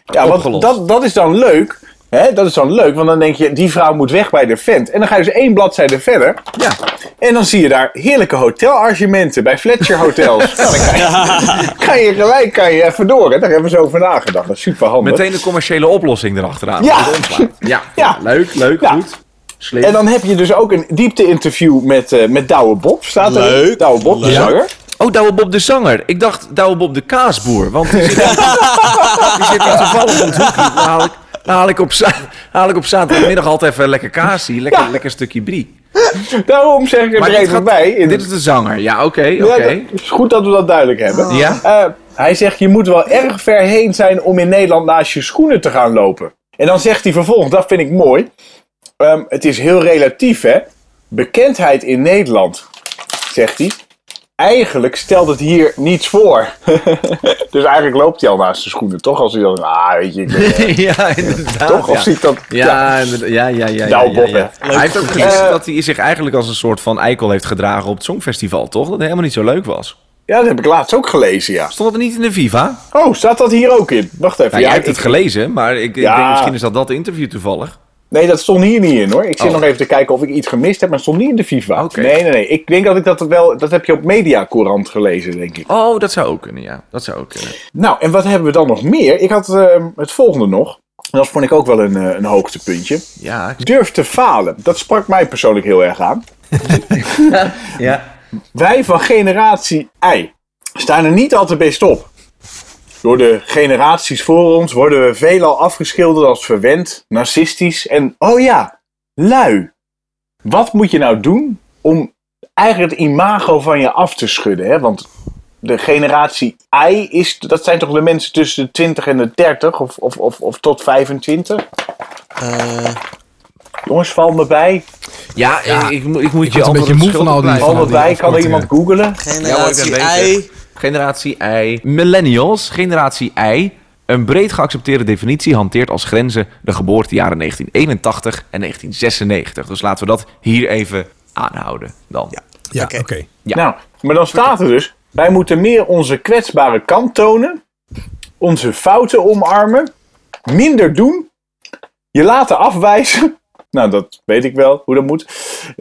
Ja, want
Opgelost.
dat, dat is dan leuk. Hè? Dat is dan leuk, want dan denk je, die vrouw moet weg bij de vent. En dan ga je dus één bladzijde verder.
Ja.
En dan zie je daar heerlijke hotelargementen bij Fletcher
<laughs>
Hotels. Nou, dan kan je, kan je gelijk kan je even door. Hè? Daar hebben we zo over nagedacht. Dat is super handig.
Meteen de commerciële oplossing erachteraan.
Ja.
Dat is ontslaan. ja.
Ja.
Leuk, leuk,
Ja.
goed. Slim.
En dan heb je dus ook een diepte-interview met, eh met Douwe Bob. Staat er
Leuk.
Douwe Bob, de
Leuk.
zanger.
Oh, Douwe Bob de zanger. Ik dacht Douwe Bob de kaasboer. Want die zit, <laughs> die zit hier toevallig om het hoekje. Dan haal ik, dan haal ik, op, za- haal ik op zaterdagmiddag altijd even lekker kaasie. Lekker,
Ja.
lekker stukje brie.
Daarom zeg ik het er
dit,
even bij. In
dit is de zanger. Ja, oké,
Ja,
oké.
dat- is goed dat we dat duidelijk hebben.
Ja.
Eh, hij zegt, je moet wel erg ver heen zijn om in Nederland naast je schoenen te gaan lopen. En dan zegt hij vervolgens, dat vind ik mooi. ehm, het is heel relatief, hè. Bekendheid in Nederland, zegt hij. Eigenlijk stelt het hier niets voor. <laughs> dus eigenlijk loopt hij al naast de schoenen, toch? Als hij dan, ah, weet je, ik ben-
<laughs> ja, inderdaad.
toch?
ja.
Of ziet dat...
Ja, inderdaad. ja, ja, ja. ja,
Nou,
ja,
Bob,
ja.
hè.
Hij heeft ook gezegd
Eh,
dat hij zich eigenlijk als een soort van eikel heeft gedragen op het Songfestival, toch? Dat het helemaal niet zo leuk was.
ja, dat heb ik laatst ook gelezen, ja.
Stond het niet in de Viva?
Oh, staat dat hier ook in? Wacht even.
Ja, Nou,
ja,
jij hebt
ik-
het gelezen, maar ik, ik
Ja.
denk misschien is dat dat interview toevallig.
Nee, dat stond hier niet in hoor. Ik zit
Oh.
nog even te kijken of ik iets gemist heb, maar het stond niet in de FIFA.
Oké.
Nee, nee, nee. Ik denk dat ik dat wel. Dat heb je op Mediacourant gelezen, denk ik.
Oh, dat zou ook kunnen, ja. Dat zou ook kunnen.
Nou, en wat hebben we dan nog meer? Ik had ehm, het volgende nog. En dat vond ik ook wel een, eh, een hoogtepuntje.
Ja.
Durf te falen. Dat sprak mij persoonlijk heel erg aan.
ja.
Wij van generatie I staan er niet al te best op. Door de generaties voor ons worden we veelal afgeschilderd als verwend, narcistisch en, oh ja, lui. Wat moet je nou doen om eigenlijk het imago van je af te schudden? Hè? Want de generatie I is, dat zijn toch de mensen tussen de 20 en de 30 of, of, of, of tot 25?
eh,
Jongens, val me bij.
Ja, ik, ik, moet- ik moet je
word een beetje
antwoorden
moe van
schuldig
al die-
blijven.
Val me
die
bij, kan er
afkortingen.
iemand googelen?
generatie
Ja, hoor, ik ben
I.
Generatie I. Millennials, generatie I. Een breed geaccepteerde definitie hanteert als grenzen de geboortejaren 1981 en 1996. Dus laten we dat hier even aanhouden dan.
Ja,
Oké.
oké.
Ja.
Nou, maar dan staat er dus: wij moeten meer onze kwetsbare kant tonen, onze fouten omarmen, minder doen, je laten afwijzen. <laughs> Nou, dat weet ik wel hoe dat moet.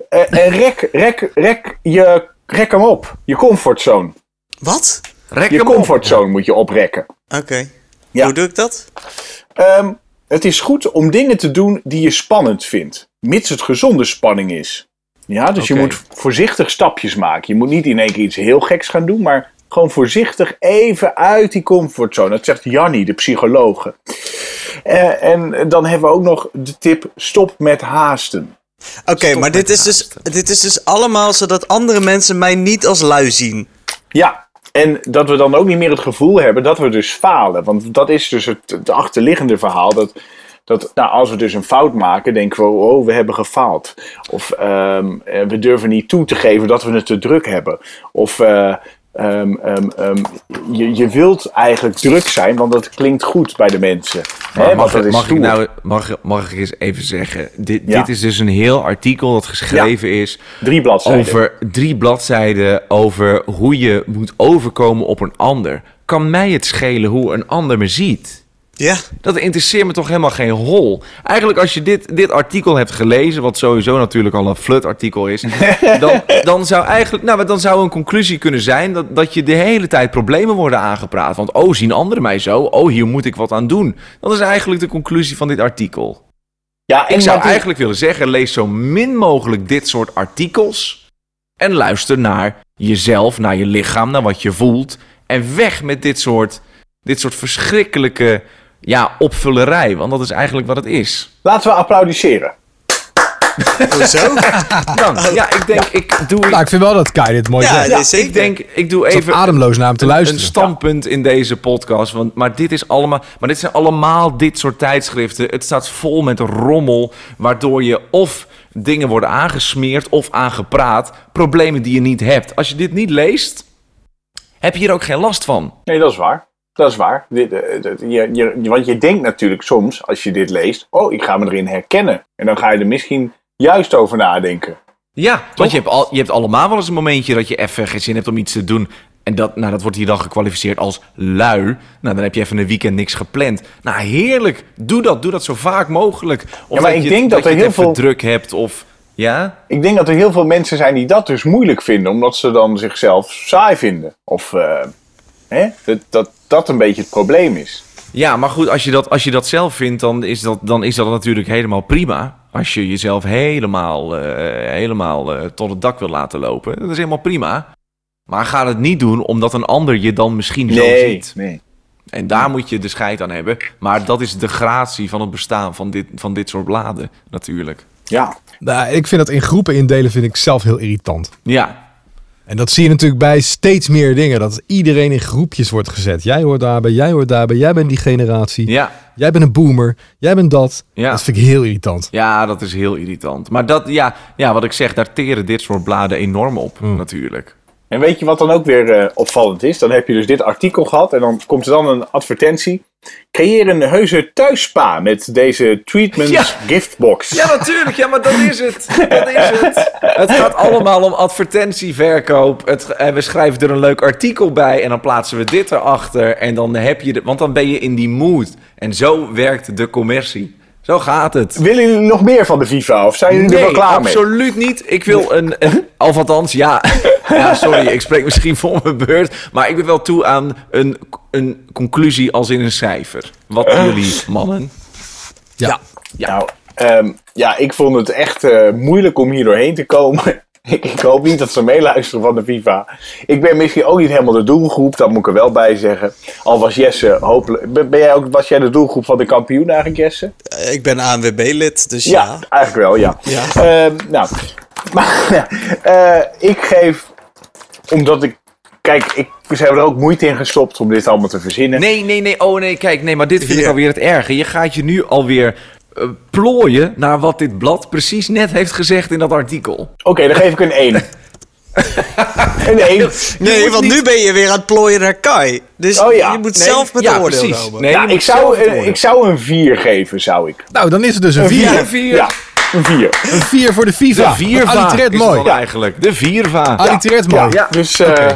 Eh, en rek, rek, rek, je, rek hem op. Je comfortzone.
Wat?
Rek
Je
hem op.
comfortzone moet je oprekken.
Oké.
Ja.
Hoe doe ik dat?
Ehm, het is goed om dingen te doen die je spannend vindt, mits het gezonde spanning is. Ja, dus
Oké.
je moet voorzichtig stapjes maken. Je moet niet in één keer iets heel geks gaan doen, maar gewoon voorzichtig even uit die comfortzone. Dat zegt Janni, de psychologe. Eh, en dan hebben we ook nog de tip: stop met haasten.
Oké, maar dit is, dus, dit is dus allemaal zodat andere mensen mij niet als lui zien.
Ja, en dat we dan ook niet meer het gevoel hebben dat we dus falen. Want dat is dus het, het achterliggende verhaal. Dat, dat nou, als we dus een fout maken, denken we, oh, we hebben gefaald. Of ehm, eh, we durven niet toe te geven dat we het te druk hebben. Of eh, ehm, ehm, ehm, je, je wilt eigenlijk druk zijn, want dat klinkt goed bij de mensen. Hè,
Maar
want
mag,
dat is
mag, ik
stoer.
nou, mag, mag ik eens even zeggen? Dit,
Ja.
dit is dus een heel artikel dat geschreven is
Drie bladzijden.
over drie bladzijden over hoe je moet overkomen op een ander. Kan mij het schelen hoe een ander me ziet?
Ja,
Dat interesseert me toch helemaal geen hol. Eigenlijk als je dit, dit artikel hebt gelezen, wat sowieso natuurlijk al een flutartikel is, dan, dan zou eigenlijk, nou, maar dan zou een conclusie kunnen zijn dat, dat je de hele tijd problemen worden aangepraat. Want oh, zien anderen mij zo? Oh, hier moet ik wat aan doen. Dat is eigenlijk de conclusie van dit artikel.
Ja,
Ik zou
dat is-
eigenlijk willen zeggen, lees zo min mogelijk dit soort artikels en luister naar jezelf, naar je lichaam, naar wat je voelt en weg met dit soort, dit soort verschrikkelijke ja, opvullerij, want dat is eigenlijk wat het is.
Laten we applaudisseren.
hoezo?
Dank. Ja, ik denk, ik doe,
Nou, ik vind wel dat Kai dit mooi
ja,
zegt.
nee, zeker.
ik denk, ik doe
Het is ook
even
ademloos naar hem te luisteren.
een standpunt in deze podcast, want, maar dit is allemaal, maar dit zijn allemaal dit soort tijdschriften. Het staat vol met rommel, waardoor je of dingen worden aangesmeerd of aangepraat, problemen die je niet hebt. Als je dit niet leest, heb je hier ook geen last van.
Nee, dat is waar. Dat is waar. Dit, eh, dat- je, je, want je denkt natuurlijk soms, als je dit leest, oh, ik ga me erin herkennen. En dan ga je er misschien juist over nadenken.
Ja, want je hebt, al, je hebt allemaal wel eens een momentje dat je even geen zin hebt om iets te doen. En dat, nou, dat wordt hier dan gekwalificeerd als lui. Nou, dan heb je even een weekend niks gepland. Nou, heerlijk. Doe dat. Doe dat zo vaak mogelijk. Of
maar ik
je,
denk dat
je
er
het
heel
even
veel-
druk hebt of... Ja?
Ik denk dat er heel veel mensen zijn die dat dus moeilijk vinden, omdat ze dan zichzelf saai vinden. Of eh, hè? Dat, dat dat een beetje het probleem is.
Ja, maar goed, als je dat, als je dat zelf vindt, dan is dat, dan is dat natuurlijk helemaal prima. Als je jezelf helemaal, eh, helemaal eh, tot het dak wil laten lopen, dat is helemaal prima. Maar ga het niet doen omdat een ander je dan misschien zo ziet.
nee.
En daar moet je de scheid aan hebben. Maar dat is de gratie van het bestaan van dit, van dit soort bladen, natuurlijk.
Ja.
Nou, ik vind dat in groepen indelen vind ik zelf heel irritant.
Ja,
En dat zie je natuurlijk bij steeds meer dingen. Dat iedereen in groepjes wordt gezet. Jij hoort daarbij, jij hoort daarbij, jij bent die generatie.
ja,
Jij bent een boomer, jij bent dat.
Ja.
Dat vind ik heel irritant.
ja, dat is heel irritant. Maar dat, ja, ja, wat ik zeg, daar teren dit soort bladen enorm op, natuurlijk.
En weet je wat dan ook weer eh, opvallend is? Dan heb je dus dit artikel gehad en dan komt er dan een advertentie. Creëer een heuse thuisspa met deze treatment
Ja.
giftbox.
Ja, natuurlijk. Ja, maar dat is het. Dat is het. Het gaat allemaal om advertentieverkoop. Het, en we schrijven er een leuk artikel bij en dan plaatsen we dit erachter. En dan heb je... De, want dan ben je in die mood. En zo werkt de commercie. Zo gaat het.
Willen jullie nog meer van de FIFA of zijn jullie er wel klaar mee?
absoluut niet. Ik wil een,
<laughs>
een of althans, ja. <laughs> ja, sorry, ik spreek misschien voor mijn beurt, maar ik ben wel toe aan een, een conclusie als in een cijfer. Wat doen jullie
<laughs>
mannen?
Ja.
Nou, ehm, ja, ik vond het echt eh, moeilijk om hier doorheen te komen. <laughs> ik, ik hoop niet dat ze meeluisteren van de FIFA. Ik ben misschien ook niet helemaal de doelgroep, dat moet ik er wel bij zeggen. Al was Jesse hopelijk. Ben, ben jij ook, was jij de doelgroep van de kampioen eigenlijk, Jesse?
Eh, <laughs> Ik ben ANWB-lid, dus
Ja,
ja.
eigenlijk wel, ja.
Ja.
Ehm, nou, <laughs> maar eh, ik geef, omdat ik. Kijk, ik, ze hebben er ook moeite in gestopt om dit allemaal te verzinnen.
Nee, nee, nee. Oh nee, kijk, nee, maar dit vind ik
Hier.
alweer het erge. Je gaat je nu alweer eh, plooien naar wat dit blad precies net heeft gezegd in dat artikel.
Oké, dan geef ik een
<laughs>
1. een 1.
Je
Nee,
moet
want
niet-
nu ben je weer aan het plooien naar Kai. Dus
Oh ja,
je moet
Nee,
zelf met
ja,
de oordeel
precies.
komen.
Nee,
ja,
je
ik
moet
zou,
zelf het
een,
oordeel.
ik zou een 4 geven, zou ik.
Nou, dan is het dus een 4.
Ja, vier.
Ja, een 4.
Een 4 voor de FIFA.
De vierva
Want Allitereert
is
mooi.
het dan eigenlijk. De vierva.
Allitereert mooi.
Ja, dus eh,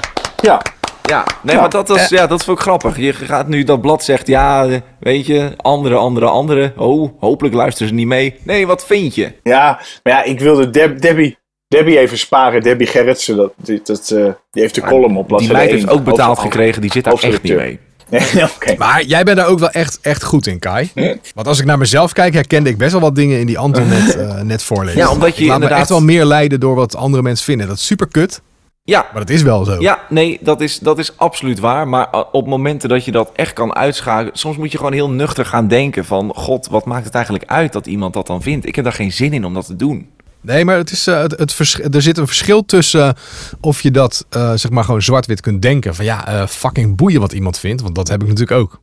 ja.
Ja, nee,
Ja. Eh.
maar dat, was, ja, dat vond ik grappig. Je gaat nu dat blad zegt, ja, eh, weet je, andere, andere, andere. Oh, hopelijk luisteren ze niet mee. Nee, wat vind je?
ja, maar ja, ik wilde Deb- Debbie, Debbie even sparen. Debbie Gerritsen, dat, die, dat, eh, die heeft de column op.
Die
bladzijde
meid heeft
één.
ook betaald
Over-
gekregen, die zit daar echt niet mee.
hoofdredacteur. <laughs> Nee, Oké.
Maar jij bent daar ook wel echt, echt goed in, Kai. Want als ik naar mezelf kijk, herkende ik best wel wat dingen in die
<laughs>
Anton net, eh, net voorleest.
Ja, omdat je
ik laat me
inderdaad-
echt wel meer leiden door wat andere mensen vinden. Dat is super kut,
Ja,
maar dat is wel zo.
ja nee, dat is, dat is absoluut waar. Maar eh, op momenten dat je dat echt kan uitschakelen... Soms moet je gewoon heel nuchter gaan denken van... God, wat maakt het eigenlijk uit dat iemand dat dan vindt? Ik heb daar geen zin in om dat te doen.
Nee, maar het is, eh, het, het versch- er zit een verschil tussen eh, of je dat eh, zeg maar gewoon zwart-wit kunt denken. Van ja, eh, fucking boeien wat iemand vindt, want dat heb ik natuurlijk ook.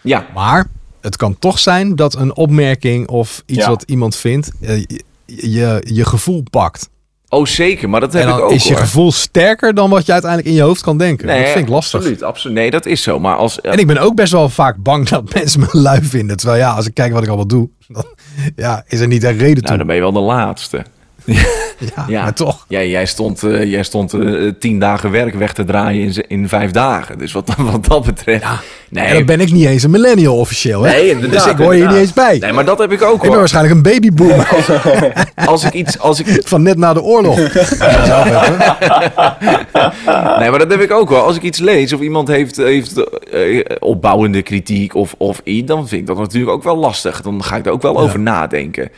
Ja,
Maar het kan toch zijn dat een opmerking of iets
Ja.
wat iemand vindt eh, je, je, je gevoel pakt.
oh zeker, maar dat heb
en dan
ik ook
is je
hoor.
gevoel sterker dan wat je uiteindelijk in je hoofd kan denken. dat vind ik lastig.
Absoluut, absoluut. Nee, dat is zo. Maar als, eh,
En ik ben ook best wel vaak bang dat mensen me lui vinden. Terwijl ja, als ik kijk wat ik allemaal doe, dan ja, is er niet een reden
Nou,
toe.
dan ben je wel de laatste.
Ja, maar toch.
Jij, jij stond, eh, jij stond eh, tien dagen werk weg te draaien in, z- in vijf dagen. Dus wat, <laughs> wat dat betreft.
En dan ben ik niet eens een millennial officieel, hè?
Nee, inderdaad,
dus ik hoor je
inderdaad.
niet eens bij.
Nee, maar dat heb ik ook
ik ben
hoor.
waarschijnlijk een babyboomer
Als ik iets, als ik,
<laughs> van net na de oorlog.
Nee, maar dat heb ik ook wel. Als ik iets lees of iemand heeft, heeft eh, opbouwende kritiek of, of iets, dan vind ik dat natuurlijk ook wel lastig. Dan ga ik er ook wel over nadenken.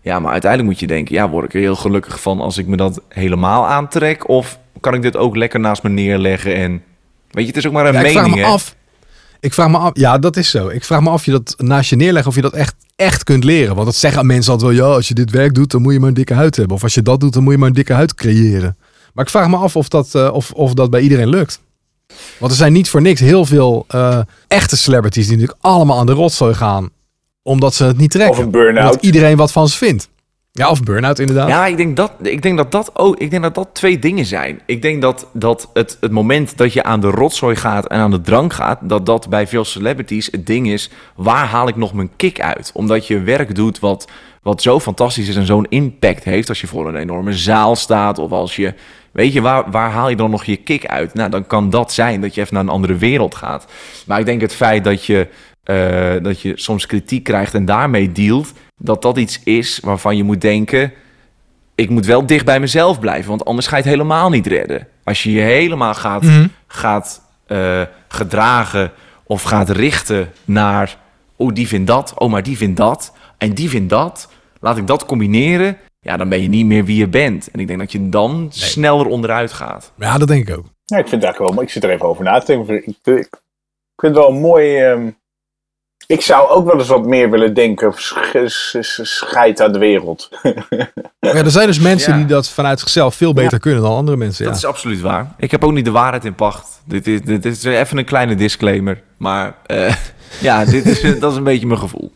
Ja, maar uiteindelijk moet je denken, ja, word ik er heel gelukkig van als ik me dat helemaal aantrek? Of kan ik dit ook lekker naast me neerleggen en... Weet je, het is ook maar een
Ja, ik
mening,
vraag me
hè?
af. Ik vraag me af. Ja, dat is zo. Ik vraag me af je dat naast je neerleggen of je dat echt, echt kunt leren. Want dat zeggen mensen altijd wel. Ja, als je dit werk doet, dan moet je maar een dikke huid hebben. Of als je dat doet, dan moet je maar een dikke huid creëren. Maar ik vraag me af of dat, eh, of, of dat bij iedereen lukt. Want er zijn niet voor niks heel veel eh, echte celebrities die natuurlijk allemaal aan de rotzooi gaan. Omdat ze het niet trekken.
Of een burn-out.
Omdat iedereen wat van ze vindt. Ja, of burn-out inderdaad.
Ja, ik denk dat, ik denk dat, dat, ook, ik denk dat dat twee dingen zijn. Ik denk dat, dat het, het moment dat je aan de rotzooi gaat en aan de drank gaat, dat dat bij veel celebrities het ding is: waar haal ik nog mijn kick uit? Omdat je werk doet wat, wat zo fantastisch is en zo'n impact heeft. Als je voor een enorme zaal staat of als je. Weet je, waar, waar haal je dan nog je kick uit? Nou, dan kan dat zijn dat je even naar een andere wereld gaat. Maar ik denk het feit dat je, eh, dat je soms kritiek krijgt en daarmee dealt, dat dat iets is waarvan je moet denken ik moet wel dicht bij mezelf blijven, want anders ga je het helemaal niet redden. Als je je helemaal gaat, gaat eh, gedragen of gaat richten naar, oh die vindt dat, oh maar die vindt dat en die vindt dat, laat ik dat combineren, ja dan ben je niet meer wie je bent. En ik denk dat je dan sneller onderuit gaat.
ja dat denk ik ook.
Ja, ik vind het eigenlijk wel mooi. Ik zit er even over na te denken. Ik, ik, ik vind het wel een mooi. ehm, ik zou ook wel eens wat meer willen denken. sch- sch- sch- Scheid aan de wereld. <laughs>
Maar ja, er zijn dus mensen
Ja.
die dat vanuit zichzelf veel beter kunnen dan andere mensen. Ja.
Dat is absoluut waar. Ik heb ook niet de waarheid in pacht. Dit is, dit is even een kleine disclaimer, maar eh, <laughs> ja, dit is, eh, dat is een beetje mijn gevoel.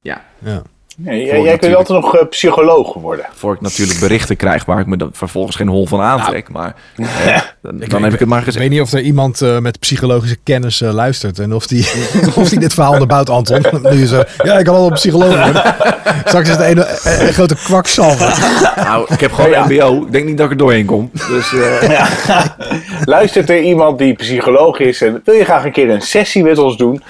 Ja.
Ja.
Nee, jij- jij
natuurlijk.
kunt altijd nog eh, psycholoog worden. <laughs>
Voor ik natuurlijk berichten krijg waar ik me dan vervolgens geen hol van aantrek.
Nou.
Maar
<laughs>
eh, dan, dan heb ik het maar
Ik
gezegd.
weet niet of er iemand eh, met psychologische kennis eh, luistert en of die, <laughs> of die dit verhaal onderbouwt, Anton. Nu je zo, ja, ik kan wel een psycholoog worden. Straks is het een, eh, een grote kwakzalver.
Nou, ik heb gewoon
<laughs> Ja.
MBO. Ik denk niet dat ik er doorheen kom. Dus eh,
<laughs> Luistert er iemand die psycholoog is en wil je graag een keer een sessie met ons
<laughs>
doen?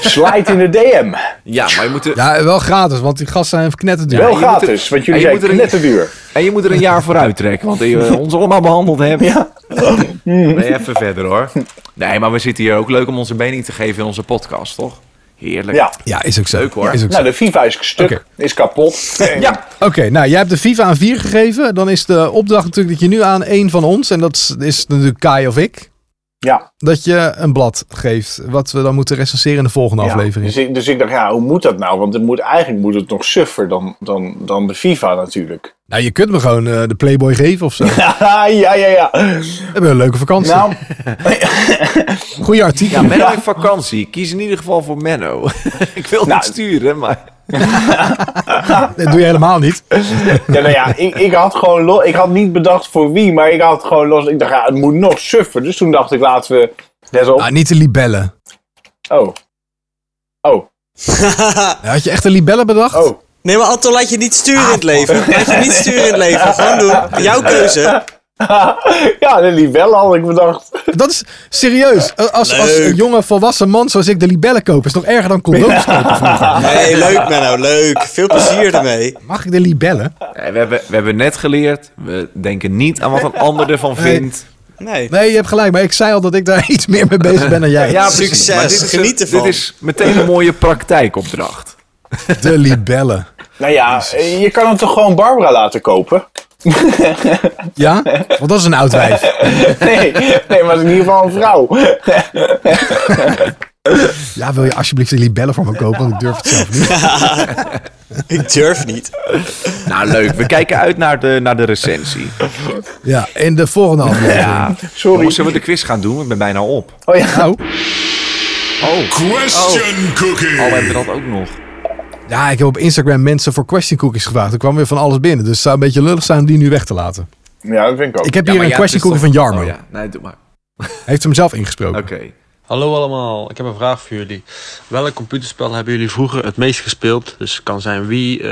Slide in de DM.
ja, maar je moet, er,
Ja, wel gratis, want die gasten zijn knetterduur.
wel
je moet
gratis,
er-
want
en
jullie
je
zijn
moet er-
net te duur.
en je moet er een jaar voor uittrekken. Want
<laughs>
je eh, ons allemaal behandeld hebt. Ja. <laughs> Nee, even verder hoor. Nee, maar we zitten hier ook leuk om onze mening te geven in onze podcast, toch? Heerlijk.
Ja.
Ja, is ook zo.
Leuk, hoor.
Is ook zo.
Nou, de FIFA is stuk,
Oké.
is kapot.
Ja.
Oké, nou jij hebt de FIFA aan 4 gegeven. Dan is de opdracht natuurlijk dat je nu aan één van ons, en dat is- is natuurlijk Kai of ik,
ja.
dat je een blad geeft. Wat we dan moeten recenseren in de volgende
Ja,
aflevering.
Dus ik, dus ik dacht, ja, hoe moet dat nou? Want het moet, eigenlijk moet het nog suffer dan, dan, dan de FIFA natuurlijk. <laughs>
Nou, je kunt me gewoon eh, de Playboy geven of zo.
ja, ja, ja.
We hebben een leuke vakantie.
Nou,
Goeie artikel.
Ja, Menno heeft vakantie. Kies in ieder geval voor Menno. <laughs> ik wil
Nou,
niet sturen, maar...
Dat doe je helemaal niet.
ja, nou ja, ik, ik had gewoon lo- ik had niet bedacht voor wie, maar ik had gewoon los. Ik dacht, ja, het moet nog suffer. Dus toen dacht ik, laten we. Let op.
Ah, niet de libellen.
Oh. Oh.
Ja, Had je echt een libellen bedacht?
Oh.
Nee, maar Anton, laat je niet sturen in het leven. Laat je niet sturen in het leven. Gewoon doen. Jouw keuze.
<laughs> ja, de libellen had ik bedacht.
Dat is serieus. Als, als, als een jonge volwassen man zoals ik de libellen koop, is het nog erger dan condooms kopen. vroeger.
Nee, leuk Menno, leuk. Veel plezier ermee.
Mag ik de libellen?
Nee, Eh, we, hebben, we hebben net geleerd. We denken niet aan wat een ander ervan
Nee.
vindt.
Nee.
Nee, je hebt gelijk. Maar ik zei al dat ik daar <laughs> iets meer mee bezig ben dan jij.
Ja,
Succes,
precies. Maar dit is een-
geniet ervan.
Dit is meteen een mooie praktijkopdracht.
De libellen.
Nou ja, eh, je kan hem toch gewoon Barbara laten kopen?
Ja? Want dat is een oud wijf.
<laughs> Nee, nee maar het is in ieder geval een vrouw.
Ja, wil je alsjeblieft de libellen voor me kopen? Want ik durf het zelf niet.
Ik durf niet.
Nou, leuk. We kijken uit naar de, naar de recensie.
Ja, in de volgende aflevering.
Ja.
Sorry.
Jongens, Zullen we de quiz gaan doen? Ik ben bijna op.
Oh ja.
Nou,
Question
Oh.
cookie.
Al hebben we dat ook nog.
ja, ik heb op Instagram mensen voor question cookies gevraagd. Er kwam weer van alles binnen. Dus het zou een beetje lullig zijn om die nu weg te laten.
ja, dat vind ik ook.
Ik heb
Ja,
hier
maar
een
ja,
question
het
cookie
is
van
toch-
Jarmo.
Oh ja, nee, doe maar.
Hij heeft hem zelf ingesproken.
Oké.
Hallo allemaal, ik heb een vraag voor jullie. Welk computerspel hebben jullie vroeger het meest gespeeld? Dus het kan zijn Wii, eh,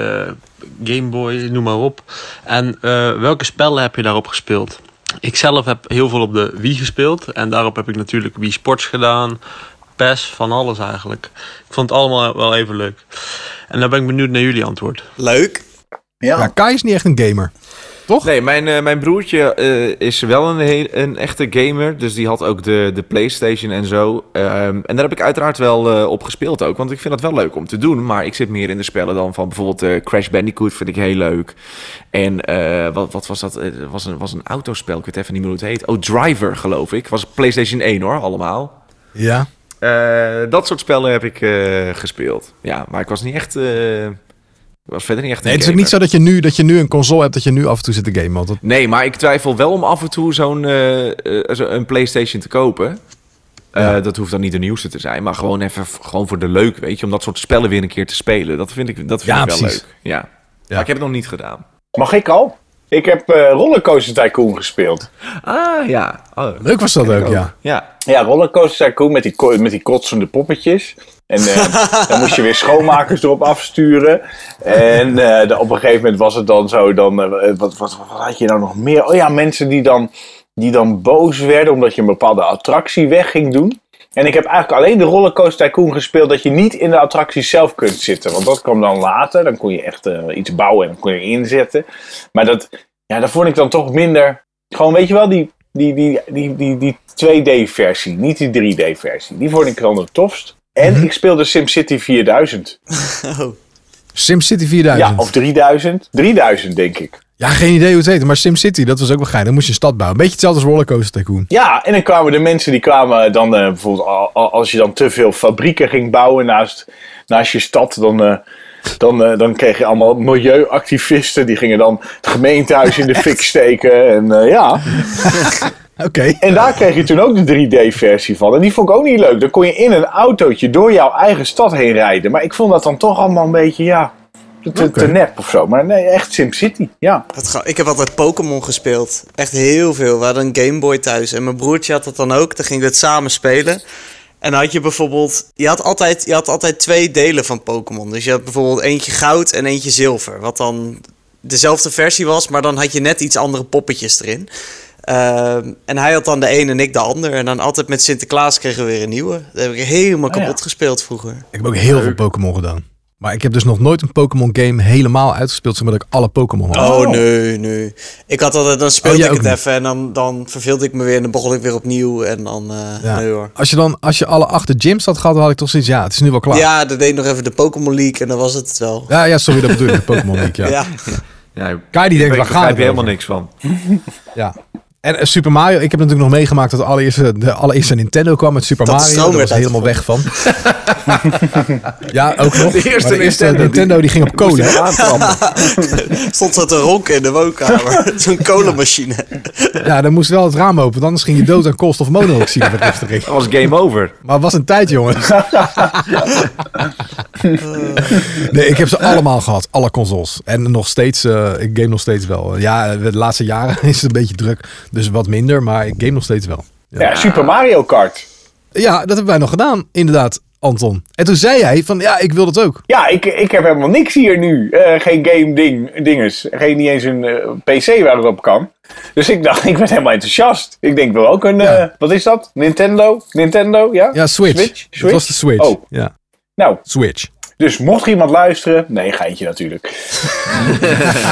Game Boy, noem maar op. En eh, welke spellen heb je daarop gespeeld? Ik zelf heb heel veel op de Wii gespeeld. En daarop heb ik natuurlijk Wii Sports gedaan. PES, van alles eigenlijk. Ik vond het allemaal wel even leuk. En dan ben ik benieuwd naar jullie antwoord.
Leuk.
Ja.
Ja, Kai is niet echt een gamer.
Nee, mijn, eh, mijn broertje eh, is wel een, heel- een echte gamer. Dus die had ook de, de PlayStation en zo. Ehm, en daar heb ik uiteraard wel eh, op gespeeld ook. Want ik vind dat wel leuk om te doen. Maar ik zit meer in de spellen dan van bijvoorbeeld eh, Crash Bandicoot. Vind ik heel leuk. En eh, wat, wat was dat? Eh, Het was, een, was een autospel. Ik weet even niet meer hoe het heet. Oh, Driver geloof ik. Was PlayStation 1 hoor, allemaal.
Ja.
Eh, dat soort spellen heb ik eh, gespeeld. Ja, maar ik was niet echt. eh, ik was verder niet echt.
Nee,
een
het is ook niet
gamer.
zo dat je, nu, dat je nu een console hebt dat je nu af en toe zit te gamen. Want dat-
Nee, maar ik twijfel wel om af en toe zo'n eh, eh, zo- een PlayStation te kopen. Eh, Dat hoeft dan niet de nieuwste te zijn, maar gewoon even v- gewoon voor de leuk, weet je, om dat soort spellen weer een keer te spelen. Dat vind ik, dat vind
Ja,
ik wel
precies.
leuk. Ja. Maar ik heb het nog niet gedaan.
Mag ik al? Ik heb eh Rollercoaster Tycoon gespeeld.
Ah ja. Oh,
Leuk was dat ook, ja.
ja.
Ja, Rollercoaster Tycoon met die, ko- met die kotsende poppetjes. En eh, dan moest je weer schoonmakers erop afsturen. En eh, dan op een gegeven moment was het dan zo, dan, eh, wat, wat, wat had je nou nog meer? Oh ja, mensen die dan, die dan boos werden omdat je een bepaalde attractie weg ging doen. En ik heb eigenlijk alleen de Rollercoaster Tycoon gespeeld dat je niet in de attractie zelf kunt zitten. Want dat kwam dan later, dan kon je echt eh, iets bouwen en dan kon je inzetten. Maar dat, ja, dat vond ik dan toch minder... Gewoon, weet je wel, die, die, die, die, die, die 2D-versie, niet die 3D-versie. Die vond ik dan het tofst. En ik speelde SimCity 4000.
Oh.
SimCity
Ja,
4000. Ja,
of 3000. 3000, denk ik.
geen idee hoe het heet, maar SimCity, dat was ook wel geil. Dan moest je een stad bouwen. Beetje hetzelfde als Rollercoaster Tycoon.
Ja, en dan kwamen de mensen die kwamen dan eh, bijvoorbeeld... al- al- als je dan te veel fabrieken ging bouwen naast, naast je stad... Dan, eh, dan, eh, dan kreeg je allemaal milieuactivisten. Die gingen dan het gemeentehuis in de fik steken. En eh, ja...
Oké.
En daar kreeg je toen ook de 3D-versie van. En die vond ik ook niet leuk. Dan kon je in een autootje door jouw eigen stad heen rijden. Maar ik vond dat dan toch allemaal een beetje, ja, te, te- te nep of zo. Maar nee, echt SimCity. Ja.
Wat ga- ik heb altijd Pokémon gespeeld. Echt heel veel. We hadden een Game Boy thuis. En mijn broertje had dat dan ook. Dan gingen we het samen spelen. En dan had je bijvoorbeeld... Je had altijd, je had altijd twee delen van Pokémon. Dus je had bijvoorbeeld eentje goud en eentje zilver. Wat dan dezelfde versie was, maar dan had je net iets andere poppetjes erin. Ehm, en hij had dan de een en ik de ander. En dan altijd met Sinterklaas kregen we weer een nieuwe. Dat heb ik helemaal
ja.
kapot gespeeld vroeger.
Ik heb ook heel veel Pokémon gedaan. Maar ik heb dus nog nooit een Pokémon game helemaal uitgespeeld zonder dat ik alle Pokémon had.
Oh, nee, nee. Ik had altijd, dan
Oh,
speelde
jij
ik het
ook niet?
even en dan, dan verveelde ik me weer en dan begon ik weer opnieuw en dan, eh,
Ja.
nee hoor.
Als je dan, als je alle acht de gyms had gehad, dan had ik toch zoiets, ja, het is nu wel klaar. Ja,
Ja, dan deed ik nog even de Pokémon League en dan was het het wel.
ja, sorry, dat bedoel ik, de Pokémon League, ja.
Ja, <laughs>
ja
Kai die denkt,
ik
waar gaat
begrijp
het
je helemaal
over?
niks van.
Ja. En eh, Super Mario, ik heb natuurlijk nog meegemaakt dat de allereerste, de allereerste Nintendo kwam met Super
Dat de
Mario.
stroom
Daar was
werd
ik helemaal weg van. ja, ook
<laughs>
nog.
De eerste
Maar
Nintendo, die-
Nintendo die ging op kolen.
<laughs> Moest
hè?
ik aantrappen.
stond dat te ronken in de
<laughs>
woonkamer. <laughs> Zo'n kolenmachine.
Ja, dan moest wel het raam open, want anders ging je dood aan koolstofmonoxide vergiftiging.
Dat was game over.
Maar het was een tijd,
<laughs>
jongens. nee, ik heb ze allemaal gehad. Alle consoles. En nog steeds, eh, ik game nog steeds wel. Ja, de laatste jaren <laughs> is het een beetje druk. Dus wat minder, maar ik game nog steeds wel.
Ja, Super Mario Kart.
Ja, dat hebben wij nog gedaan, inderdaad, Anton. En toen zei jij van, ja, ik wil dat ook.
Ja, ik, ik heb helemaal niks hier nu. Eh, geen game ding, dinges. Geen niet eens een eh, PC waar het op kan. Dus ik dacht, <laughs> ik ben helemaal enthousiast. Ik denk, ik wil ook een,
Ja.
eh, wat is dat? Nintendo? Nintendo, ja?
Ja, Switch.
Switch?
Dat was de Switch.
Oh,
Ja,
nou,
Switch.
dus mocht er iemand luisteren... Nee, geintje natuurlijk.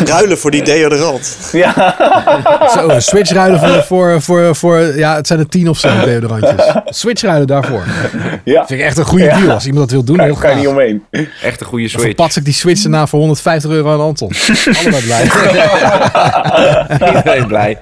Ruilen voor die deodorant.
Ja.
Zo, een Switch ruilen voor, voor, voor, voor, ja, het zijn er tien of zo, deodorantjes. Switch ruilen daarvoor.
Ja,
Vind ik echt een goede deal. Als iemand dat wil doen, heel
daar kan
graag.
je niet omheen.
Echt een goede
Dan
switch.
verpats ik die Switch daarna voor 150 euro aan Anton. Allemaal blij.
<laughs> Iedereen blij.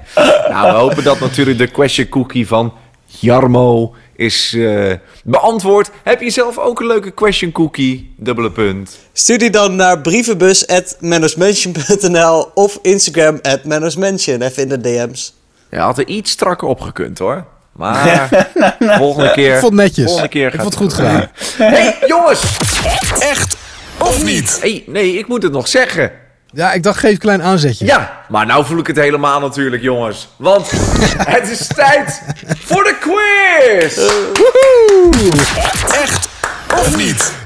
Nou, we hopen dat natuurlijk de question cookie van Jarmo is eh, beantwoord. Heb je zelf ook een leuke question cookie? Dubbele punt.
Stuur die dan naar brievenbus.mannersmansion.nl of Instagram at mannersmansion. Even in de DM's.
Ja, had er iets strakker opgekund hoor. <laughs> Maar volgende keer.
Ik vond het netjes.
Volgende keer
ik
gaat
vond het goed gedaan.
Hey, jongens!
Echt of niet?
Hey, nee, ik moet het nog zeggen.
Ja, ik dacht, geef een klein aanzetje.
Ja, maar nou voel ik het helemaal natuurlijk, jongens. Want <laughs> het is tijd voor de quiz!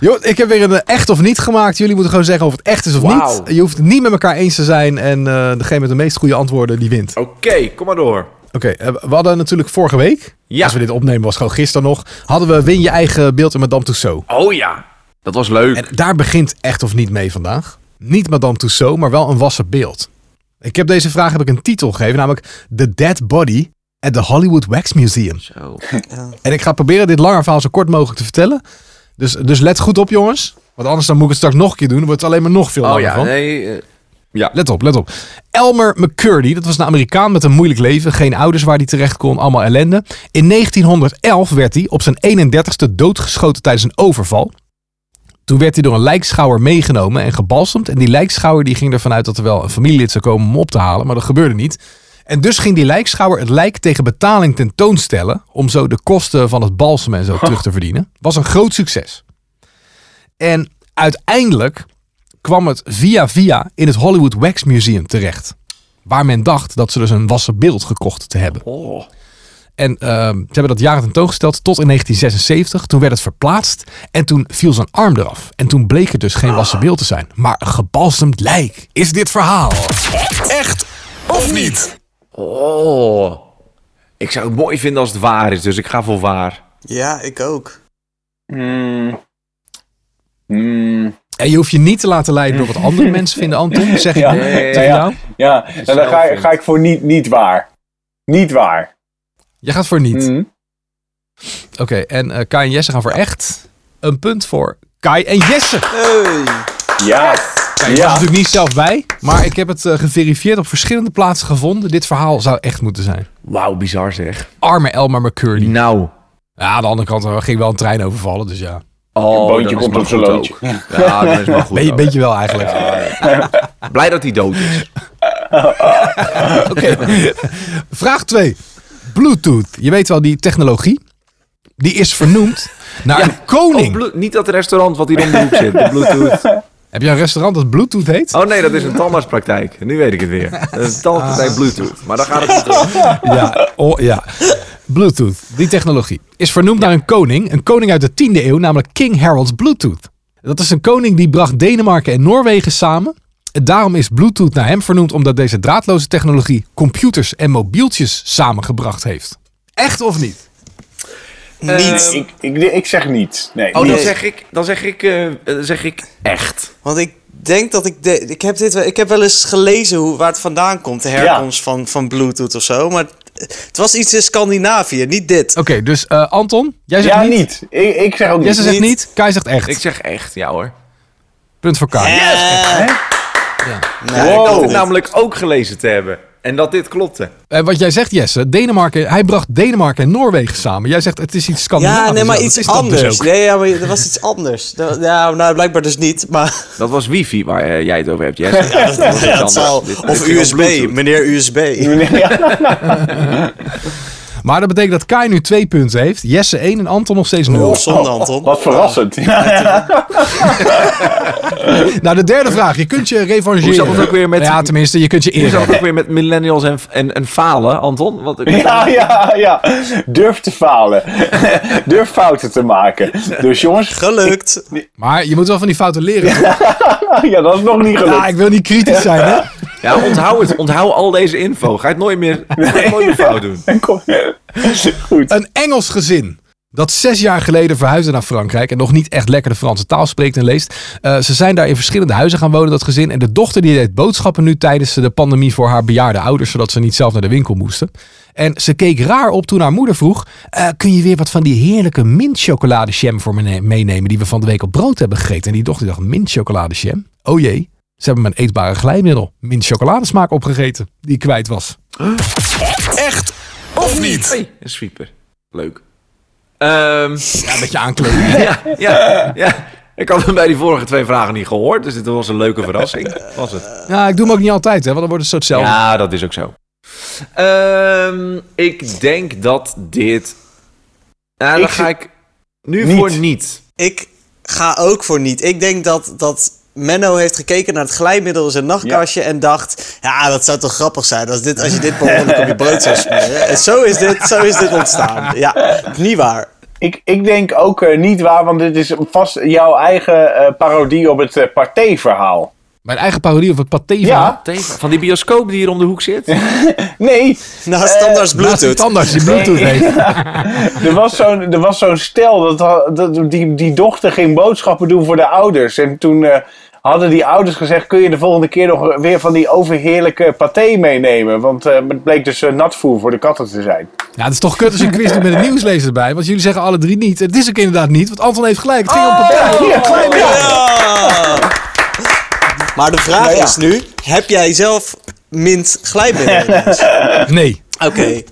Jo, ik heb weer een eh, echt of niet gemaakt. Jullie moeten gewoon zeggen of het echt is of
Wauw.
niet. Je hoeft het niet met elkaar eens te zijn. En eh, degene met de meest goede antwoorden, die wint.
Oké, kom maar door.
Oké, eh, we hadden natuurlijk vorige week...
Ja.
Als we dit opnemen, was gewoon gisteren nog... hadden we Win je eigen beeld in Madame Tussauds.
Oh ja, dat was leuk.
En daar begint echt of niet mee vandaag. Niet Madame Tussauds, maar wel een wassen beeld. Ik heb deze vraag heb ik een titel gegeven, namelijk The Dead Body at the Hollywood Wax Museum.
Zo.
En ik ga proberen dit lange verhaal zo kort mogelijk te vertellen. Dus, dus let goed op, jongens. Want anders dan moet ik het straks nog een keer doen. Dan wordt het alleen maar nog veel
oh
langer
ja,
van.
nee. eh, ja.
Let op, let op. Elmer McCurdy, dat was een Amerikaan met een moeilijk leven. Geen ouders waar hij terecht kon, allemaal ellende. In 1911 werd hij op zijn 31ste doodgeschoten tijdens een overval. Toen werd hij door een lijkschouwer meegenomen en gebalsemd. En die lijkschouwer die ging ervan uit dat er wel een familielid zou komen om op te halen. Maar dat gebeurde niet. En dus ging die lijkschouwer het lijk tegen betaling tentoonstellen. Om zo de kosten van het balsem en zo terug te verdienen. Was een groot succes. En uiteindelijk kwam het via via in het Hollywood Wax Museum terecht. Waar men dacht dat ze dus een wassen beeld gekocht te hebben.
Oh.
En ehm, ze hebben dat jaren tentoongesteld tot in 1976. Toen werd het verplaatst en toen viel zijn arm eraf. En toen bleek het dus geen wassen beeld te zijn. Maar een gebalsemd lijk is dit verhaal.
Oh. Ik zou het mooi vinden als het waar is, dus ik ga voor waar.
Ja, ik ook.
Mm. Mm.
En je hoeft je niet te laten leiden door wat
<laughs>
andere mensen vinden, Anton. Zeg nou? ik
Ja,
tegen
ja, ja.
jou?
Ja, en dan ga, ga ik voor niet, niet waar. Niet waar.
Je gaat voor niet.
Mm.
Oké, en eh, Kai en Jesse gaan voor echt. Een punt voor Kai en Jesse.
Hey.
Ja.
Ik was
Ja.
natuurlijk niet zelf bij, maar ik heb het eh, geverifieerd op verschillende plaatsen gevonden. Dit verhaal zou echt moeten zijn.
Wauw, bizar zeg.
Arme Elmer McCurdy.
Nou.
Ja, aan de andere kant eh, ging wel een trein overvallen, dus ja.
Oh,
Een boontje
dan is
komt
maar
op zijn
goed
loontje.
ook. Ja, dat is maar goed.
Be-
ook.
beetje wel eigenlijk.
Blij dat hij dood is.
Oké. <laughs> Vraag 2. Bluetooth. Je weet wel, die technologie. Die is vernoemd naar een
Oh,
koning.
Blu- niet dat restaurant wat hier om de hoek zit. De Bluetooth.
heb je een restaurant dat Bluetooth heet?
Oh nee, dat is een tandartspraktijk. Nu weet ik het weer. Dat is een tandartspraktijk Bluetooth. Maar dan gaat het niet om.
Ja, oh, ja. Bluetooth, die technologie, is vernoemd naar een koning. Een koning uit de 10e eeuw, namelijk King Harold Bluetooth. Dat is een koning die bracht Denemarken en Noorwegen samen. En daarom is Bluetooth naar hem vernoemd omdat deze draadloze technologie computers en mobieltjes samengebracht heeft. Echt of niet? Eh,
Niet.
Ik, ik, ik zeg niet. Nee,
Oh,
niet.
dan zeg ik, dan zeg ik, eh, eh, zeg ik echt.
Want ik denk dat ik. De, ik, heb dit wel, ik heb wel eens gelezen hoe, waar het vandaan komt. De herkomst van, van Bluetooth of zo. Maar het het was iets in Scandinavië, niet dit.
Oké, dus eh, Anton, jij zegt
Ja,
niet.
niet. Ik, ik zeg ook niet.
Jesse zegt niet, Kai zegt echt.
Ik zeg echt, ja hoor.
Punt voor Kai.
Eh. Nee, ik
Ik
dacht
Wow.
het
Nou,
dacht namelijk ook gelezen te hebben. En dat dit klopte.
Eh, wat jij zegt, Jesse, Denemarken, hij bracht Denemarken en Noorwegen samen. Jij zegt het is iets Scandinavisch.
Ja, nee, maar
Dat
iets
is dat dus
anders.
ook.
nee, ja, maar er was iets anders. Da- Ja, nou, blijkbaar dus niet, maar
Dat was wifi waar eh, jij het over hebt, Jesse. Ja, dat,
dat zal. <laughs> Of USB, meneer USB.
<laughs>
Maar dat betekent dat Kai nu twee punten heeft. Jesse 1 en Anton nog steeds 0.
Oh, zonde, Anton.
Wat verrassend. <laughs> Ja, ja.
Nou, de derde vraag. Je kunt je revancheren.
Hoe zat het ook weer met-
Ja, tenminste, je kunt je
Is
eren.
dat ook weer met millennials en, en, en falen, Anton? Want,
Ja, ja, ja. Durf te falen. <laughs> Durf fouten te maken. Dus jongens,
Gelukt.
Maar je moet wel van die fouten leren. Ja,
<laughs> ja, dat is nog niet gelukt. <laughs>
ik wil niet kritisch zijn, hè?
Ja, onthoud het. Onthoud al deze info. Ga je het nooit meer, ga je het nooit meer fout doen.
Kom. Goed.
Een Engels gezin dat zes jaar geleden verhuisde naar Frankrijk en nog niet echt lekker de Franse taal spreekt en leest. Eh, ze zijn daar in verschillende huizen gaan wonen, dat gezin. En de dochter die deed boodschappen nu tijdens de pandemie voor haar bejaarde ouders, zodat ze niet zelf naar de winkel moesten. En ze keek raar op toen haar moeder vroeg, eh, kun je weer wat van die heerlijke mintchocoladejam voor me ne- meenemen die we van de week op brood hebben gegeten? En die dochter dacht, mintchocoladejam? Oh jee, ze hebben mijn eetbare glijmiddel, mintchocoladesmaak opgegeten, die ik kwijt was.
Hey, een sweeper. Leuk. Ehm,
Ja, een beetje aankleden.
ja, ja, ja. Ik had hem bij die vorige twee vragen niet gehoord, dus dit was een leuke verrassing. Was het?
Ja, ik doe hem ook niet altijd, hè, want dan wordt het zo hetzelfde.
Ja, dat is ook zo. Ehm, ik denk dat dit. Nou, dan
Ik-
ga ik nu
Niet.
voor niet.
Ik ga ook voor niet. Ik denk dat, dat Menno heeft gekeken naar het glijmiddel in zijn nachtkastje en dacht... Ja, dat zou toch grappig zijn als, dit, als je dit per ongeluk op je brood zou smeren. En zo is dit, zo is dit ontstaan. Ja, niet waar.
Ik, ik denk ook eh, niet waar, want dit is vast jouw eigen eh, parodie op het eh Pathé-verhaal.
Mijn eigen parodie of het paté
Ja.
Tegen- Van die bioscoop die hier om de hoek zit.
Nee,
Naast standaard
Naast die
Bluetooth.
tandarts die Bluetooth
<laughs>
heeft.
er was zo'n, er was zo'n stel, dat, had- dat, die, die dochter ging boodschappen doen voor de ouders. En toen eh, hadden die ouders gezegd, kun je de volgende keer nog weer van die overheerlijke paté meenemen? Want eh, het bleek dus eh, natvoer voor de katten te zijn.
Ja, het is toch kut als je een quiz doet met een nieuwslezer erbij. Want jullie zeggen alle drie niet. Het is ook inderdaad niet, want Anton heeft gelijk. Het ging
Oh,
om paté.
Ja, klein
Ja! Maar de vraag
Nou ja.
is nu, heb jij zelf mint glijmiddel?
Nee.
Oké.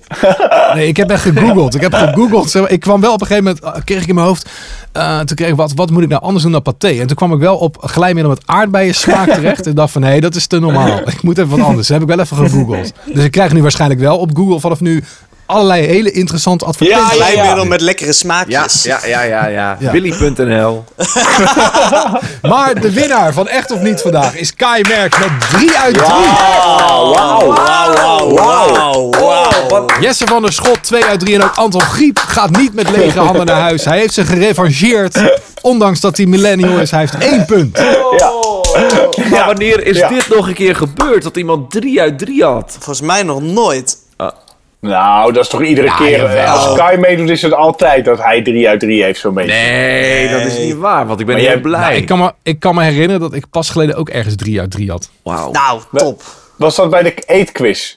Nee, ik heb echt gegoogeld. Ik heb gegoogeld. Zeg maar, Ik kwam wel op een gegeven moment, eh, kreeg ik in mijn hoofd, eh, toen kreeg ik wat, wat moet ik nou anders doen dan paté? En toen kwam ik wel op glijmiddel met aardbeien smaak
<laughs>
terecht. En dacht van, hé, dat is te normaal. Ik moet even wat anders. Dat heb ik wel even gegoogeld. Dus ik krijg nu waarschijnlijk wel op Google vanaf nu allerlei hele interessante advertenties.
Ja, ja, ja.
Glijmiddel met lekkere smaakjes.
ja, ja. ja.
Ja.
Willy.nl.
Maar de winnaar van Echt of Niet vandaag is Kai Merk met 3 uit 3.
Wauw.
Wauw, Oh, wauw, wauw, wauw.
Jesse van der Schot, 2 uit 3. En ook Anton Griep gaat niet met lege handen naar huis. Hij heeft zich gerevangeerd. Ondanks dat hij millennial is. Hij heeft één punt.
Maar wanneer is
Ja.
dit nog een keer gebeurd? Dat iemand 3 uit 3 had?
Volgens mij nog nooit.
Nou, dat is toch iedere keer. eh, Als Kai meedoet, is het altijd dat hij 3 uit 3 heeft, zo'n beetje.
Nee, dat is niet waar. Want ik ben
Maar jij-
heel blij.
Nou, Ik kan, me, ik kan me herinneren dat ik pas geleden ook ergens 3 uit 3 had.
Wauw.
Nou, top.
Was dat bij de eetquiz?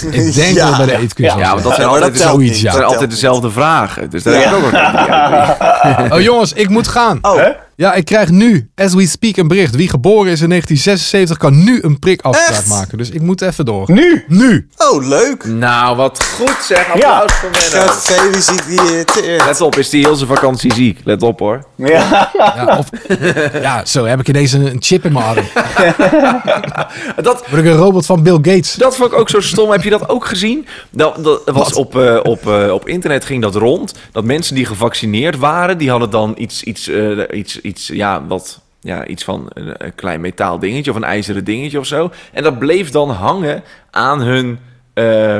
Ik denk
Ja.
dat het bij de eetquiz
Ja,
was,
Ja,
ja.
want dat zijn
Ja,
altijd,
maar dat telt
dezelfde-
zoiets,
niet.
ja.
dat zijn
Dat telt
altijd
niet.
dezelfde vragen. Dus daar heb ik ook nog een 3 uit 3.
Oh jongens, ik moet gaan.
Oh.
Ja, ik krijg nu, as we speak, een bericht. Wie geboren is in 1976 kan nu een prikafspraak
Echt?
maken. Dus ik moet even door.
Nu!
Nu!
Oh, leuk.
Nou, wat goed zeg.
Ja.
Applaus voor Menno.
Gefeliciteerd.
Let op, is die heel zijn vakantie ziek? Let op hoor.
Ja,
Ja, of, ja, zo heb ik ineens een, een chip in mijn adem.
Dat,
Word ik een robot van Bill Gates?
dat vond ik ook zo stom. Heb je dat ook gezien? Dat, dat was op, eh, op, eh, op internet ging dat rond. Dat mensen die gevaccineerd waren, die hadden dan iets, iets, eh, iets, iets, ja, wat, ja, iets van een, een klein metaal dingetje of een ijzeren dingetje of zo. En dat bleef dan hangen aan hun. eh,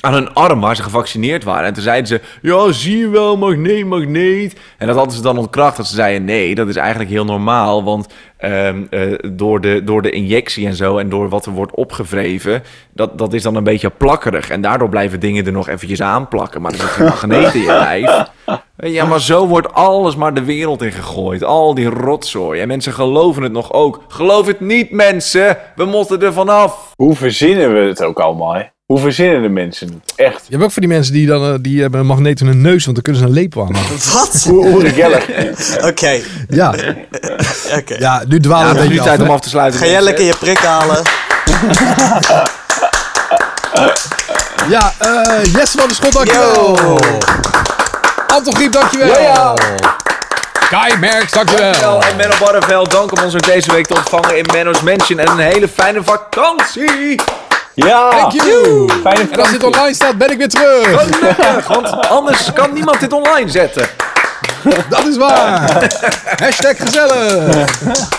aan hun arm waar ze gevaccineerd waren. En toen zeiden ze: Ja, zie je wel, magneet, magneet. En dat hadden ze dan ontkracht. Dat ze zeiden: Nee, dat is eigenlijk heel normaal. Want ehm, eh, door, de, door de injectie en zo en door wat er wordt opgevreven, dat, dat is dan een beetje plakkerig. En daardoor blijven dingen er nog eventjes aan plakken. Maar er zit geen magneet in je lijf. <laughs> Ja, maar zo wordt alles maar de wereld in gegooid. Al die rotzooi. En mensen geloven het nog ook. Geloof het niet, mensen. We moeten er vanaf.
hoe verzinnen we het ook allemaal, hè? Hoe verzinnen de mensen het? Echt.
Je hebt ook voor die mensen die, dan, eh, die hebben een magneet in hun neus, want dan kunnen ze een lepel aanmaken.
Wat?
Hoe Oerik Geller.
Oké,
Ja,
oké.
ja nu dwalen
Ja, het
we een
is nu
beetje af,
tijd
hè?
om af te sluiten.
Ga jij
mensen.
lekker je prik halen?
Ja, eh Jesse van de Schot, dankjewel.
Yo.
Anton Griep, dankjewel. Kai Merks, dankjewel.
Dankjewel en Menno Barreveld, dank om ons ook deze week te ontvangen in Menno's Mansion. En een hele fijne vakantie!
Ja!
Ah.
Thank you.
Fijne
En als dit
vakantie.
online staat, ben ik weer terug.
Gelukkig, want anders kan niemand dit online zetten. <laughs>
Dat is waar. Hashtag gezellig.